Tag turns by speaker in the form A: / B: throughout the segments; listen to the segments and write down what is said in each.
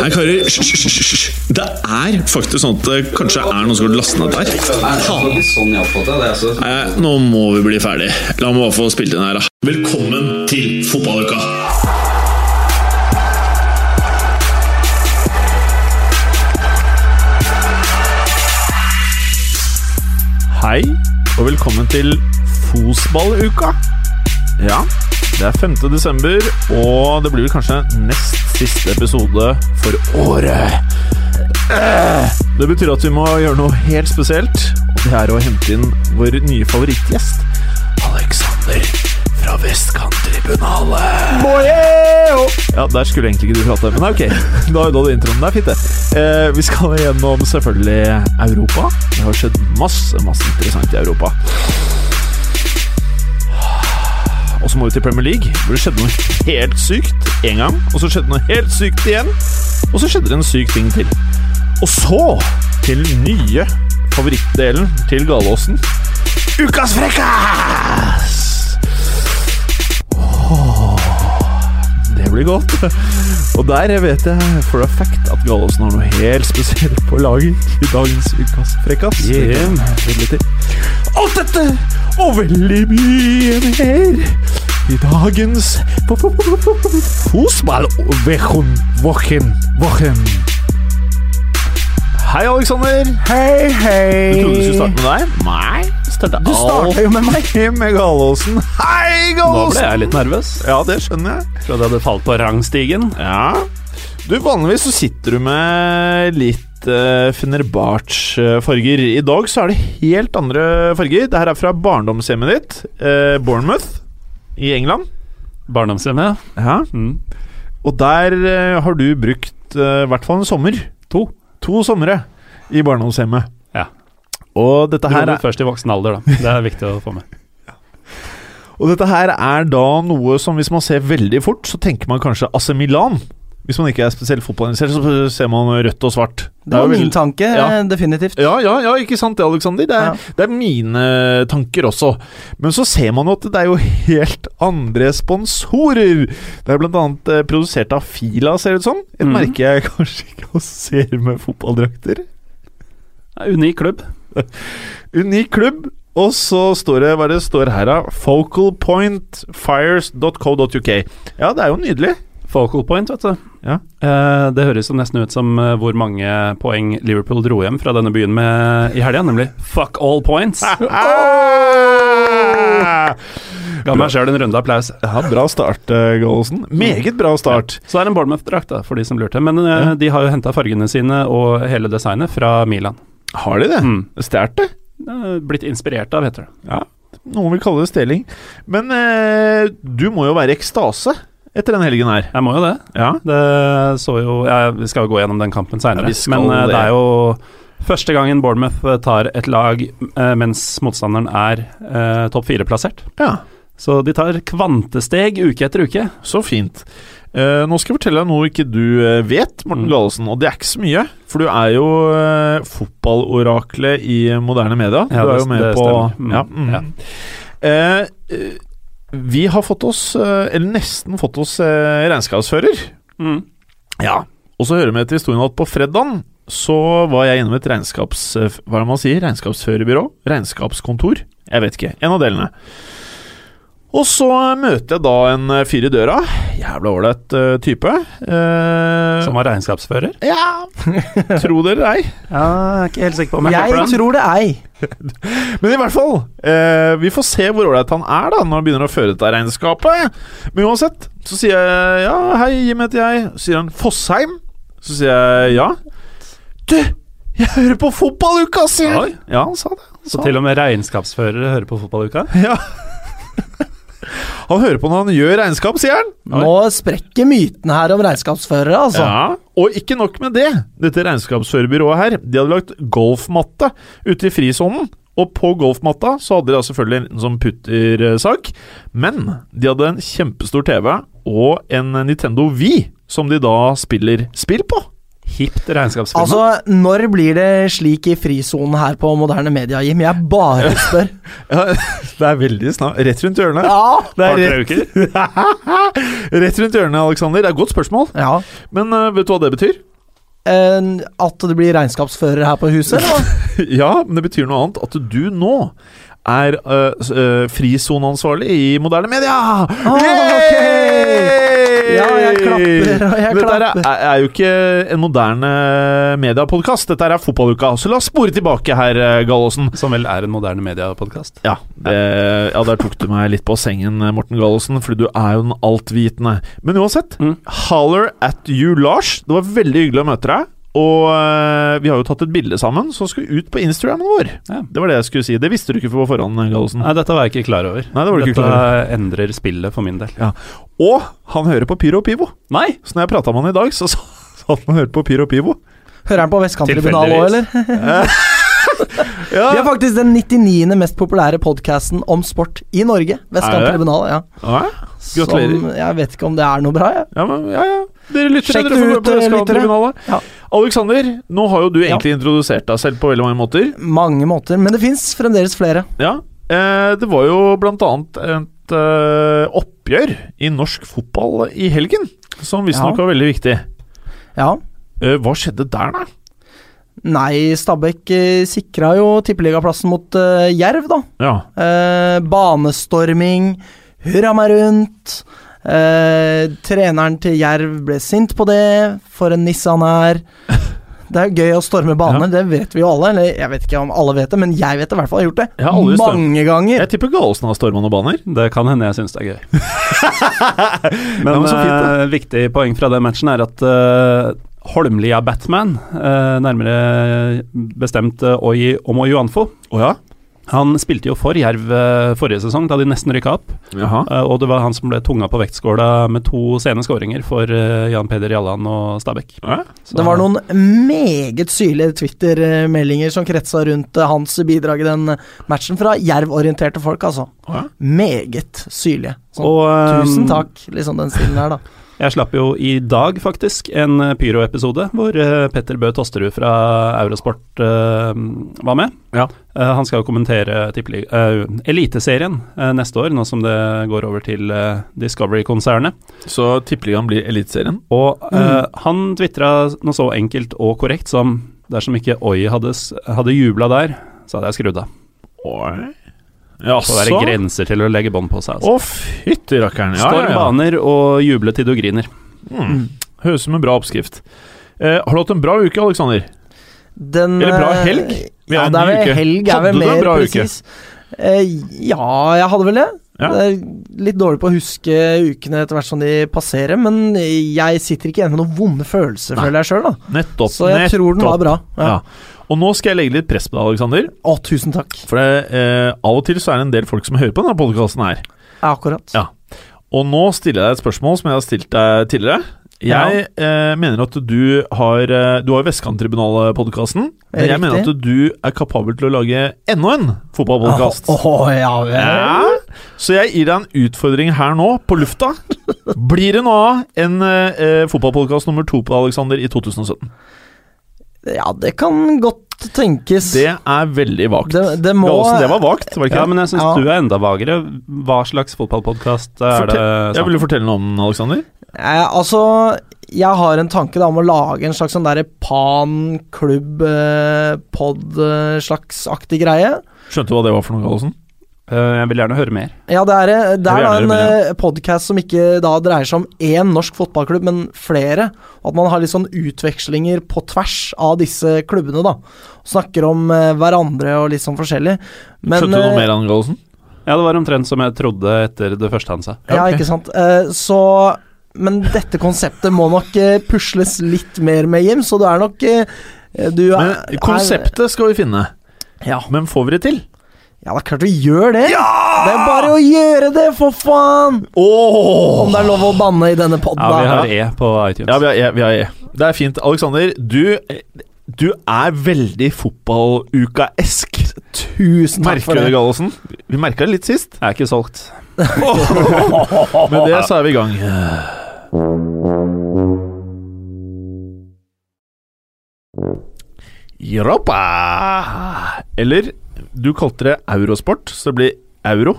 A: Nei, karer, hysj, hysj, hysj, hysj. Det er faktisk sånn at det kanskje er noen som har lastet ned der. Faen.
B: Sånn jeg oppfatter det. Altså.
A: Nei, nå må vi bli ferdig. La meg bare få spilt inn her, da. Velkommen til fotballuka!
C: Hei, og velkommen til Fosballuka. Ja, det er 5. desember, og det blir vel kanskje nest siste episode for året. Eh, Det betyr at vi må gjøre noe helt spesielt, og det er å hente inn vår nye favorittgjest, Alexander fra Vestkanttribunalet. Ja, der skulle egentlig ikke du prate, men ok. Da ødela du introen. Det er fint, det. Eh, vi skal gjennom selvfølgelig Europa. Det har skjedd masse, masse interessant i Europa. Og så må vi til Premier League, hvor det skjedde noe helt sykt én gang. Og så skjedde noe helt sykt igjen. Og så skjedde det en syk ting til. Og så til den nye favorittdelen til Galåsen. Ukas frekkas! Det blir godt. Og der vet jeg for a fact at Gallosen har noe helt spesielt på lager i dagens ukas frekkas. Alt dette og veldig mye mer i dagens Fosballwochen. Hei, Aleksander.
D: Hei, hei.
C: Du trodde du skulle starte med deg? Nei.
D: Du starta jo med meg.
C: med Gallosen. Hei,
E: Nå
C: Gallosen!
E: ble jeg litt nervøs.
C: Ja, det skjønner jeg.
E: Trodde jeg hadde falt på rangstigen.
C: Ja. Du, vanligvis så sitter du med litt uh, Fenerbahçe-farger. I dag så er det helt andre farger. Det her er fra barndomshjemmet ditt, eh, Bournemouth i England.
E: Barndomshjemmet.
C: Ja.
E: Mm.
C: Og der eh, har du brukt eh, i hvert fall en sommer. To. To somre i barndomshjemmet.
E: Ja.
C: Og dette, her
E: Her
C: er,
E: Først i voksen alder, da. Det er viktig å få med.
C: og dette her er da noe som hvis man ser veldig fort, så tenker man kanskje AC Milan. Hvis man ikke er spesielt fotballinteressert, så ser man rødt og svart.
D: Det var
C: jo
D: min
C: veld-
D: tanke,
C: Ja.
D: eh, definitivt.
C: Ja, ja, ja, ikke sant det, Alexander? Det er,
D: Ja.
C: det er mine tanker også. Men så ser man jo at det er jo helt andre sponsorer. Det er blant annet eh, produsert av Fila, ser det ut som. Et
E: Mhm.
C: merke jeg kanskje ikke assosierer med fotballdrakter.
E: Ja, Unik klubb.
C: Unik klubb. Og så står det hva er det står her, da. Focalpointfires.co.uk. Ja, det er jo nydelig.
E: Focal point, vet du.
C: Ja.
E: Eh, det høres jo nesten ut som eh, hvor mange poeng Liverpool dro hjem fra denne byen med i helga, nemlig fuck all points.
C: Ah!
E: Ga meg sjøl en runde applaus.
C: Ja, bra start, eh, Gallosen. Meget bra start.
E: Så det er en Bournemouth-drakt, da, for de som lurte. Men eh,
C: Ja.
E: de har jo henta fargene sine og hele designet fra Milan.
C: Har de det?
E: Mm.
C: Stjålet det?
E: Eh, Blitt inspirert av, heter det.
C: Noen vil kalle det steling. Men eh, du må jo være i ekstase etter den helgen her.
E: Jeg må jo det.
C: Ja.
E: Det så jo ja, Vi skal jo gå gjennom den kampen
C: Ja,
E: seinere,
C: vi skal
E: men eh,
C: det.
E: det er jo første gangen Bournemouth eh, tar et lag eh, mens motstanderen er eh, topp fire-plassert.
C: ja.
E: Så de tar kvantesteg uke etter uke.
C: Så fint. Eh, nå skal jeg fortelle deg noe ikke du eh, vet, Morten
E: Mm.
C: Gallesen, og det er ikke så mye. For du er jo eh, fotballoraklet i eh, moderne media.
E: Ja,
C: du er
E: det-
C: jo med
E: det
C: på
E: stemmer. Mm.
C: Ja, mm. Eh, eh, vi har fått oss, eh, eller nesten fått oss, eh, regnskapsfører. Mm. Ja. Og så hører vi til historien at på fredagen så var jeg innom et regnskaps... eh, Hva er det man sier? Regnskapsførerbyrå? Regnskapskontor? Jeg vet ikke. En av delene. Og så møter jeg da en eh, fyr i døra. Jævla ålreit eh, type. Eh,
E: Som var regnskapsfører?
C: Ja Tro det eller ei.
E: Ja, jeg er ikke helt sikker på
D: Jeg tror det ei.
C: Men i hvert fall, eh, vi får se hvor ålreit han er da når han begynner å føre dette regnskapet. Men uansett, så sier jeg ja, hei, Jim heter jeg. Så sier han Fossheim. Så sier jeg ja. Du, jeg hører på fotballuka, sier han. Ja, han sa det. Han,
E: Så
C: sa
E: til
C: det.
E: og med regnskapsførere hører på fotballuka?
C: Ja. han hører på når han gjør regnskap, sier han.
D: Nå sprekker myten her om regnskapsførere, altså.
C: Ja. Og ikke nok med det. Dette regnskapsførerbyrået her, de hadde lagt golfmatte ute i frisonen. Og på golfmatta så hadde de da selvfølgelig en liten sånn puttersak, men de hadde en kjempestor TV og en Nintendo Wii som de da spiller spill på.
E: Hipt regnskapsfirma.
D: Altså, når blir det slik i frisonen her på moderne media, Jim? Jeg bare spør.
C: Ja, det er veldig snart. Rett rundt hjørnet.
D: Ja!
C: Det
E: Har
C: er
E: dere uker?
C: rett, rett rundt hjørnet, Aleksander. Det er et godt spørsmål.
D: ja.
C: Men eh, vet du hva det betyr?
D: Eh, at det blir regnskapsfører her på huset? eller hva?
C: ja, men det betyr noe annet. At du nå er eh, s- eh, frisoneansvarlig i moderne media!
D: Ah, ok.
C: Yay!
D: Ja, jeg klapper, og jeg
C: Men Dette her
D: klapper.
C: er, er jo ikke en moderne mediepodkast. Dette her er fotballuka. Så la oss spore tilbake her, eh, Gallosen.
E: Som vel er en moderne mediepodkast.
C: Ja, det, ja, der tok du meg litt på sengen, Morten Gallosen, fordi du er jo den altvitende. Men uansett,
E: Mm.
C: holler at you, Lars. Det var veldig hyggelig å møte deg. Og eh, vi har jo tatt et bilde sammen som skulle ut på Instagramen vår.
E: Ja.
C: Det var det jeg skulle si. Det visste du ikke på forhånd, Gallosen.
E: Nei, dette var jeg ikke klar over.
C: Mm. Nei, det var du ikke
E: dette
C: klar
E: endrer spillet for min del.
C: Og han hører på Pyro og Pivo.
E: Nei!
C: Så når jeg prata med han i dag, så sa sa han at han hørte på Pyro og Pivo.
D: Hører han på Vestkanttribunalet òg, eller?
C: Ja.
D: Vi er faktisk den 99. mest populære podkasten om sport i Norge. Vestkanttribunalet, ja.
C: Ja, Gratulerer.
D: Som, jeg vet ikke om det er noe bra, jeg.
C: ja, men, ja, ja. Dere lytter,
D: Sjekk
C: dere
D: det
C: får
D: ut,
C: gå på
D: eh,
C: Vestkanttribunalet.
D: Ja.
C: Aleksander, nå har jo du egentlig introdusert deg selv på veldig mange måter.
D: Mange måter, men det fins fremdeles flere.
C: Ja, eh, det var jo blant annet et eh, oppgjør i norsk fotball i helgen, som visstnok
D: Ja.
C: var veldig viktig.
D: Ja.
C: Eh, hva skjedde der, da?
D: Nei, Stabæk eh, sikra jo tippeligaplassen mot eh, Jerv, da.
C: Ja,
D: Eh, banestorming, hurra meg rundt. Eh, treneren til Jerv ble sint på det. For en nisse han er. Det er gøy å storme baner, det vet vi jo alle. Eller jeg vet ikke om alle vet det, men jeg vet det i hvert fall. Jeg har gjort
C: Jeg
D: det
C: har aldri storm-
D: mange ganger.
C: Jeg tipper Gallosen har storma noen baner.
E: Det kan hende jeg syns det er gøy.
C: Ja,
E: men
C: men så fint,
E: eh, viktig poeng fra den matchen er at eh, Holmlia Batman, eh, nærmere bestemt eh, Oyi Omo Juanfo,
C: Å ja?
E: han spilte jo for Jerv eh, forrige sesong, da de nesten rykka opp.
C: Jaha.
E: Eh, og det var han som ble tunga på vektskåla med to sene skåringer for eh, Jan Peder Jalland og Stabæk.
C: Ja.
E: Så-
D: Det var noen meget syrlige Twitter-meldinger som kretsa rundt eh, hans bidrag i den matchen, fra Jerv-orienterte folk, altså.
C: Å ja.
D: Meget syrlige. Sånn,
E: Og, eh,
C: ehm,
D: tusen takk, liksom den stilen der, da.
E: Jeg slapp jo i dag faktisk en eh, pyroepisode hvor eh, Petter Bø Tosterud fra Eurosport eh, var med.
C: Ja.
E: Eh, han skal jo kommentere tippelig- eh, Eliteserien eh, neste år, nå som det går over til eh, Discovery-konsernet.
C: Så tippeligaen blir Eliteserien?
E: Og eh,
C: Mm.
E: han tvitra noe så enkelt og korrekt som dersom ikke Oi hadde, s- hadde jubla der, så hadde jeg skrudd av.
C: Oi. Jaså?
E: Så det er grenser til å legge bånd på seg. Altså.
C: Å, fytti rakkeren. Ja,
E: Storm
C: ja,
E: baner og juble til du griner.
C: ja. Mm. Høres ut som en bra oppskrift. Eh, har du hatt en bra uke, Aleksander?
D: Den,
C: Eller bra
D: eh,
C: helg? Vi er
D: ja,
C: en
D: det er
C: ny
D: vel
C: uke.
D: helg er
C: Hadde
D: vel
C: du
D: mer
C: en bra uke?
D: presis. Eh, ja, jeg hadde vel det.
C: Ja.
D: Det er litt dårlig på å huske ukene etter hvert som de passerer, men jeg sitter ikke igjen med noen vonde følelser,
C: Nei.
D: føler jeg sjøl, da.
C: Nettopp.
D: Så jeg tror den
C: nettopp.
D: var bra. Ja.
C: Ja. Og nå skal jeg legge litt press på deg, Aleksander.
D: Å, tusen takk.
C: For det, eh, av og til så er det en del folk som hører på denne podkasten her.
D: Ja, akkurat.
C: Ja. Og nå stiller jeg deg et spørsmål som jeg har stilt deg tidligere. Jeg eh, mener at du har eh, Du har Vestkanttribunalet-podkasten. Men jeg
D: Riktig.
C: mener at du er kapabel til å lage enda en fotballpodkast.
D: Åh, åh, ja vel.
C: Ja. Så jeg gir deg en utfordring her nå, på lufta. Blir det noe av en eh, fotballpodkast nummer to på Alexander i 2017?
D: Ja, det kan godt tenkes.
C: Det er veldig vagt.
D: det, det må
C: Gallosen, det var vagt, var det ikke?
E: Ja, men jeg syns
D: Ja.
E: du er enda vagere. Hva slags fotballpodkast er det?
C: Fortell- jeg
E: snakk om?
C: ville fortelle noe om den, Alexander.
D: Eh, altså, jeg har en tanke da om å lage en slags sånn derre eh, pan-klubb-pod-slagsaktig greie.
C: Skjønte du hva det var for noe, Gallosen?
E: Eh, jeg vil gjerne høre mer.
D: Ja, det er,
C: Jeg
D: det
C: vil
D: er da
C: gjerne høre
D: en
C: mer,
D: eh, podcast som ikke da dreier seg om én norsk fotballklubb, men flere. Og At man har litt sånn utvekslinger på tvers av disse klubbene, da. Snakker om eh, hverandre og litt sånn forskjellig. Men,
C: Skjønte du
D: eh,
C: noe mer, Anne Gallosen?
E: Ja, det var omtrent som jeg trodde etter det første han sa.
D: Ja,
C: ok.
D: ikke sant. Eh, så Men dette konseptet må nok eh, pusles litt mer med, Jim, så du er nok eh, du er,
C: Men konseptet skal vi finne.
D: er, ja.
C: Men får vi det til?
D: ja, det er klart vi gjør det! Det er bare å gjøre det, for faen! Om det er lov å banne i denne poden,
E: Ja, vi
D: da.
E: har E på iTunes.
C: Ja, vi er, vi er Det er fint. Aleksander, du, du er veldig fotballuka-esk.
D: Tusen takk
C: Merker
D: for
C: du det,
D: det.
C: Gallosen? Vi merka det litt sist.
E: Jeg er ikke solgt.
C: Med det så er vi i gang. Europa! Eller du kalte det eurosport, så det blir euro.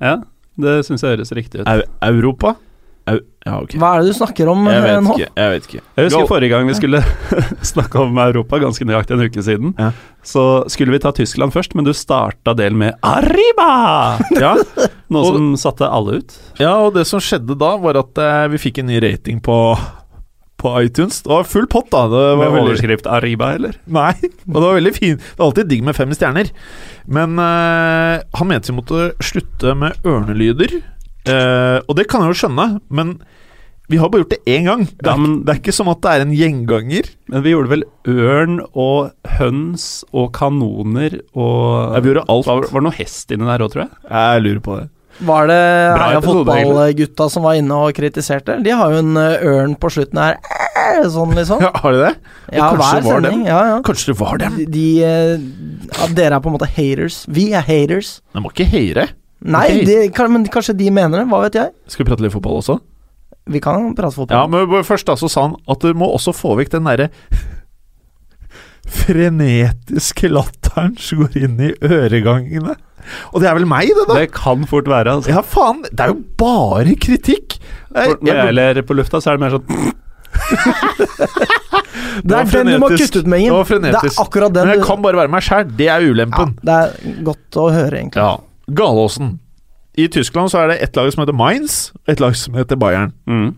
E: Ja, det syns jeg høres riktig ut.
C: Au Europa? Au ja, ok.
D: Hva er det du snakker om
C: Jeg
D: eh,
C: vet
D: nå?
C: ikke. Jeg vet ikke.
E: Jeg husker
C: Go.
E: forrige gang vi skulle snakke om Europa, ganske nøyaktig en uke siden,
C: Ja.
E: så skulle vi ta Tyskland først, men du starta delen med 'Arriba'!
C: Ja.
E: Noe
C: Og-
E: som satte alle ut.
C: ja, og det som skjedde da, var at eh, vi fikk en ny rating på på iTunes. Det var full pott, da. Det var
E: Med
C: veldig
E: overskrift 'Arriba', eller?
C: Nei, og det var veldig fin. Det er alltid digg med fem stjerner. Men eh, han mente vi måtte slutte med ørnelyder. Eh, og det kan jeg jo skjønne, men vi har bare gjort det én gang. Det
E: Ja,
C: er,
E: men,
C: det er ikke som at det er en gjenganger.
E: men vi gjorde vel ørn og høns og kanoner og
C: Ja, vi gjorde alt.
E: Var, var det noe hest inni der òg, tror jeg?
C: Jeg lurer på det.
D: Var det
E: Bra
D: Heia
E: episode,
D: Fotballgutta som var inne og kritiserte? De har jo en eh, ørn på slutten her, eh, sånn liksom.
C: Ja, har de det?
D: Ja,
C: kanskje
D: hver
C: det var
D: sending. Ja, ja.
C: Kanskje det var dem?
D: De, de eh, ja, Dere er på en måte haters. Vi er haters.
C: De må ikke heire.
D: Nei,
C: Ok.
D: de, kan, men kanskje de mener det. Hva vet jeg?
C: Skal vi prate litt fotball også?
D: Vi kan prate
C: Ja,
D: fotball.
C: men bare først da så sa han at du må også få vekk den derre frenetiske latteren som går inn i øregangene. Og det er vel meg, det, da?
E: Det kan fort være. Altså.
C: Ja, faen! Det er jo bare kritikk! Jeg,
E: For når jeg ler på lufta, så er det mer sånn
D: det er den du må kutte ut med,
C: Det
D: Ingen.
C: var
D: Det er
C: frenetisk.
D: akkurat den
C: Men jeg
D: du
C: kan bare være meg sjæl. Det er ulempen.
D: Det er godt å høre, egentlig.
C: Ja. Galåsen. I Tyskland så er det ett lag som heter Mainz, og ett lag som heter Bayern.
E: mm.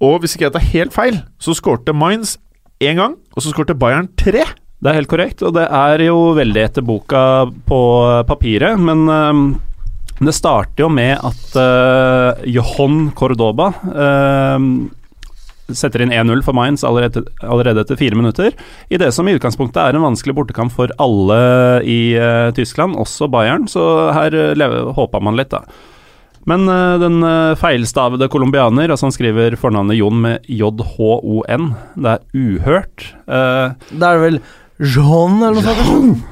C: Og hvis ikke jeg tar helt feil, så skårte Mainz én gang, og så skårte Bayern tre.
E: Det er helt korrekt, og det er jo veldig etter boka på papiret, men øhm, det starter jo med at øh, Johan Cordoba øhm, setter inn 1-0 for Mainz allerede, allerede etter fire minutter, i det som i utgangspunktet er en vanskelig bortekamp for alle i øh, Tyskland, også Bayern, så her øh, leve- håpa man litt, da. Men øh, den øh, feilstavede colombianer, altså han skriver fornavnet Jon med J-H-O-N, det er uhørt. eh,
D: Da er det vel John, eller noe sånt?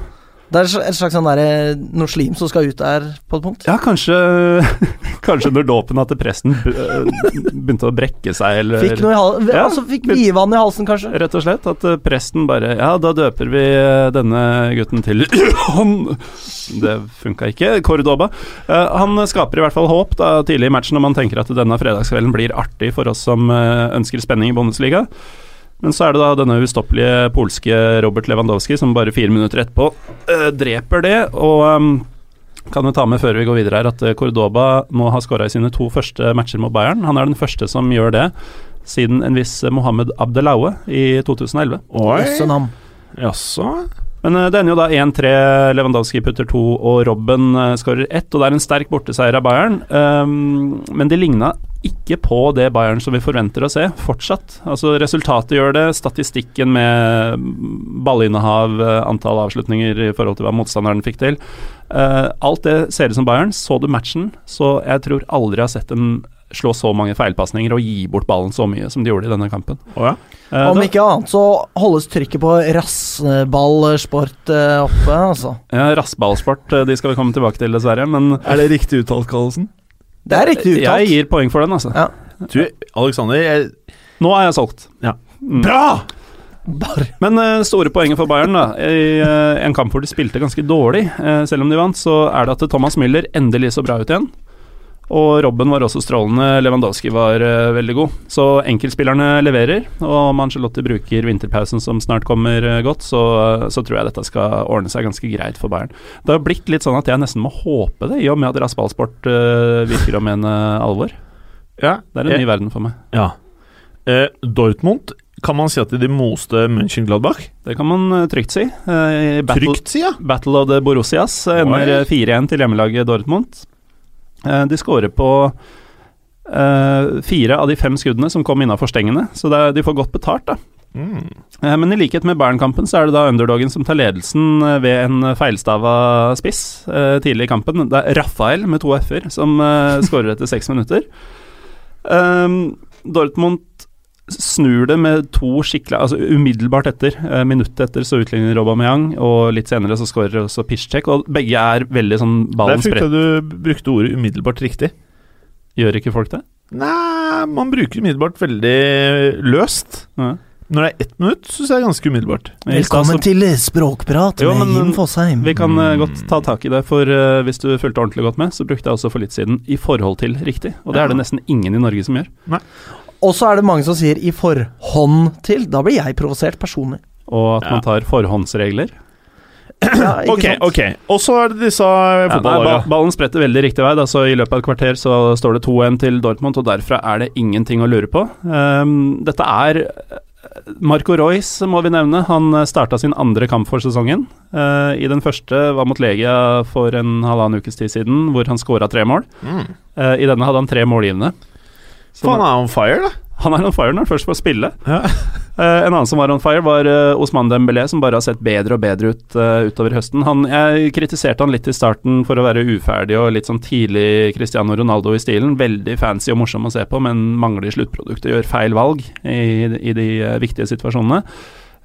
D: Det er et slags sånn der, eh, noe slim som skal ut der, på et punkt.
E: Ja, kanskje, kanskje under dåpen at presten eh, begynte å brekke seg, eller
D: Fikk noe i halsen
E: Ja,
D: Altså, fikk
E: litt-
D: bievann i halsen, kanskje.
E: Rett og slett at eh, presten bare Ja, da døper vi eh, denne gutten til Johan. Det funka ikke. Cordoba. Eh, han skaper i hvert fall håp da, tidlig i matchen, og man tenker at denne fredagskvelden blir artig for oss som eh, ønsker spenning i Bundesliga. Men så er det da denne ustoppelige polske Robert Lewandowski som bare fire minutter etterpå eh, dreper det. Og ehm, kan jo ta med før vi går videre her at eh, Cordoba nå har skåra i sine to første matcher mot Bayern. Han er den første som gjør det siden en viss Mohammed Abdelaue i 2011.
D: Jøssen ham.
C: Jaså?
E: Men eh, det ender jo da 1-3. Lewandowski putter to, og Robben eh, skårer ett. Og det er en sterk borteseier av Bayern. Ehm, men det ligna ikke på det Bayern som vi forventer å se, fortsatt. Altså Resultatet gjør det, statistikken med ballinnehav, eh, antall avslutninger i forhold til hva motstanderen fikk til. Eh, alt det ser ut som Bayern. Så du matchen, så jeg tror aldri jeg har sett dem slå så mange feilpasninger og gi bort ballen så mye som de gjorde i denne kampen.
C: Å ja.
E: Eh,
D: Om
E: da-
D: ikke annet så holdes trykket på rassballsport eh, oppe, altså.
E: Ja, Rassballsport, eh, de skal vi komme tilbake til, dessverre. Men
C: Er det riktig uttalt, Kallelsen?
D: Det er riktig
E: jeg
D: uttalt.
E: gir poeng for den, altså.
D: Ja.
C: Du, Aleksander jeg...
E: Nå er jeg solgt.
C: Ja.
E: Mm.
C: Bra!
D: Bare
E: Men eh, store poenget for Bayern, da. I eh, en kamp hvor de spilte ganske dårlig, eh, selv om de vant, så er det at Thomas Müller endelig så bra ut igjen. Og Robben var også strålende, Lewandowski var eh, veldig god. Så enkeltspillerne leverer, og om Angelotti bruker vinterpausen som snart kommer eh, godt, så, så tror jeg dette skal ordne seg ganske greit for Bayern. Det har blitt litt sånn at jeg nesten må håpe det, i og med at raspballsport eh, virker å mene alvor.
C: Ja,
E: Det er en ny verden for meg.
C: Ja. Eh, Dortmund, kan man si at de moste München-Gladbach?
E: Det kan man eh, trygt si. Eh, i battle-
C: Trygt, sier jeg.
E: Battle of the Borussias eh, ender eh, 4-1 til hjemmelaget Dortmund. Eh, De skårer på eh, fire av de fem skuddene som kom innafor stengene, så det er, de får godt betalt, da.
C: Mm.
E: Eh, Men i likhet med Bern-kampen så er det da underdogen som tar ledelsen eh, ved en feilstava spiss eh, tidlig i kampen. Det er Rafael med to f-er som eh, skårer etter seks minutter. Um, Ehm, Dortmund snur det med to skikkelig Altså umiddelbart etter. Eh, minuttet etter så utligner Aubameyang, og litt senere så skårer også Piszczek. Og begge er veldig sånn
C: Der
E: ballen
C: fikk
E: spredt.
C: jeg du brukte ordet umiddelbart riktig.
E: Gjør ikke folk det?
C: Nei, man bruker umiddelbart veldig løst.
E: Ja.
C: Når det er ett minutt, syns jeg det er ganske umiddelbart.
E: I stad
D: Velkommen
E: så-
D: til Språkprat
E: Jo,
D: med
E: men-
D: Jim Fosheim.
E: Vi kan eh, godt ta tak i det, for eh, hvis du fulgte ordentlig godt med, så brukte jeg også for litt siden 'i forhold til' riktig. Og det er det nesten ingen i Norge som gjør.
D: Og så er det mange som sier 'i forhånd til'. Da blir jeg provosert personlig.
E: Og at
C: Ja.
E: man tar forhåndsregler.
D: Ja, ikke
C: Ok,
D: sant?
C: ok. Og så er det disse eh,
E: Ja, nei, ba-
C: fotballagene.
E: ballen spretter veldig riktig vei, da, så i løpet av et kvarter så står det 2-1 til Dortmund, og derfra er det ingenting å lure på. Ehm, dette er Marco Royce må vi nevne. Han starta sin andre kamp for sesongen. Eh, I den første var mot Legia for en halvannen ukes tid siden, hvor han skåra tre mål.
C: Mm.
E: Eh, I denne hadde han tre målgivende. Så
C: Faen, han er on fire, da.
E: Han er on fire når han først får spille.
C: Ja.
E: Eh, en annen som var on fire, var eh, Osman Dembélé, som bare har sett bedre og bedre ut eh, utover høsten. Han, jeg kritiserte han litt i starten for å være uferdig og litt sånn tidlig Cristiano Ronaldo i stilen. Veldig fancy og morsom å se på, men mangler sluttproduktet, gjør feil valg i, i de eh, viktige situasjonene.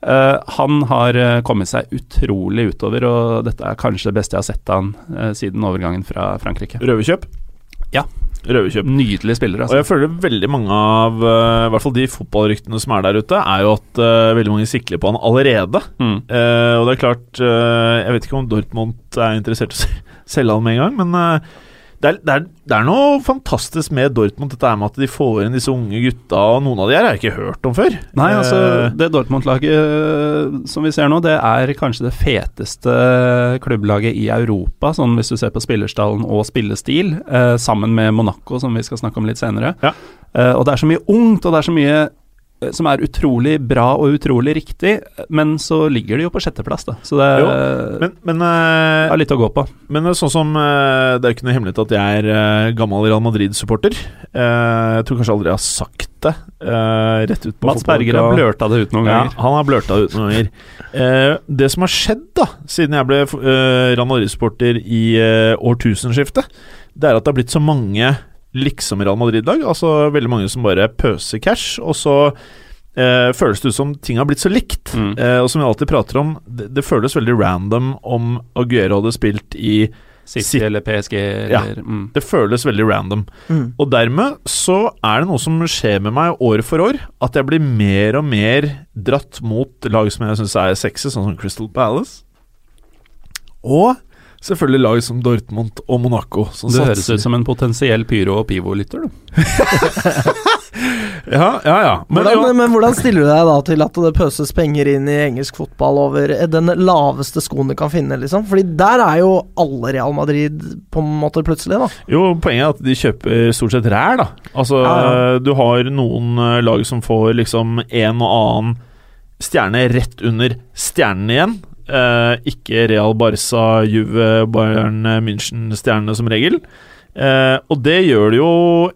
E: Eh, han har eh, kommet seg utrolig utover, og dette er kanskje det beste jeg har sett av han eh, siden overgangen fra Frankrike.
C: Røverkjøp.
E: Ja.
C: Røverkjøp.
E: Nydelig spiller,
C: Og
E: altså.
C: jeg føler veldig mange av eh, i hvert fall de fotballryktene som er der ute, er jo at eh, veldig mange sikler på han allerede.
E: Mm.
C: Eh, og det er klart eh, Jeg vet ikke om Dortmund er interessert i å se- selge han med en gang, men eh, det, er, det, er, det er noe fantastisk med Dortmund, dette her med at de får inn disse unge gutta, og noen av de her har jeg ikke hørt om før.
E: Nei, altså
C: Eh,
E: det Dortmund-laget øh, som vi ser nå, det er kanskje det feteste klubblaget i Europa, sånn hvis du ser på spillerstallen og spillestil, eh, sammen med Monaco, som vi skal snakke om litt senere.
C: Ja.
E: Eh, og det er så mye ungt, og det er så mye eh, som er utrolig bra og utrolig riktig, men så ligger de jo på sjetteplass, da. Så det er,
C: men, men, eh,
E: er litt å gå på.
C: Men sånn som eh, Det er jo ikke noe hemmelighet at jeg er eh, gammel Real Madrid-supporter. Eh, Jeg tror kanskje aldri jeg har sagt det eh, rett ut på
E: Mats Berger har blørta det ut noen
C: Ja,
E: ganger.
C: han har blørta det ut noen ganger. Eh, det som har skjedd da, siden jeg ble uh, Real Madrid-supporter i eh, årtusenskiftet, det er at det har blitt så mange liksom Real Madrid-lag. Altså veldig mange som bare pøser cash, og så eh, føles det ut som ting har blitt så likt.
E: Mm.
C: Eh, og som vi alltid prater om, det, det føles veldig random om Aguero hadde spilt i
E: City
C: City.
E: eller PSG
C: Ja.
E: eller mm.
C: Det føles veldig random.
D: Mm.
C: Og dermed så er det noe som skjer med meg år for år, at jeg blir mer og mer dratt mot lag som jeg syns er sexy, sånn som Crystal Palace. Og selvfølgelig lag som Dortmund og Monaco. Som
E: Det høres ut som en potensiell pyro- og pivo-lytter, du.
C: Ja, ja, ja. Men,
D: hvordan,
C: jo,
D: men hvordan stiller du deg da til at det pøses penger inn i engelsk fotball over eh, den laveste skoen du kan finne, liksom? Fordi der er jo alle Real Madrid på en måte plutselig, da.
C: jo, poenget er at de kjøper stort sett rær, da. Altså,
D: Ja,
C: du har noen eh, lag som får liksom en og annen stjerne rett under stjernen igjen. Eh, ikke Real Barca, Juve, Bayern eh, München-stjernene som regel. Eh, og det gjør det jo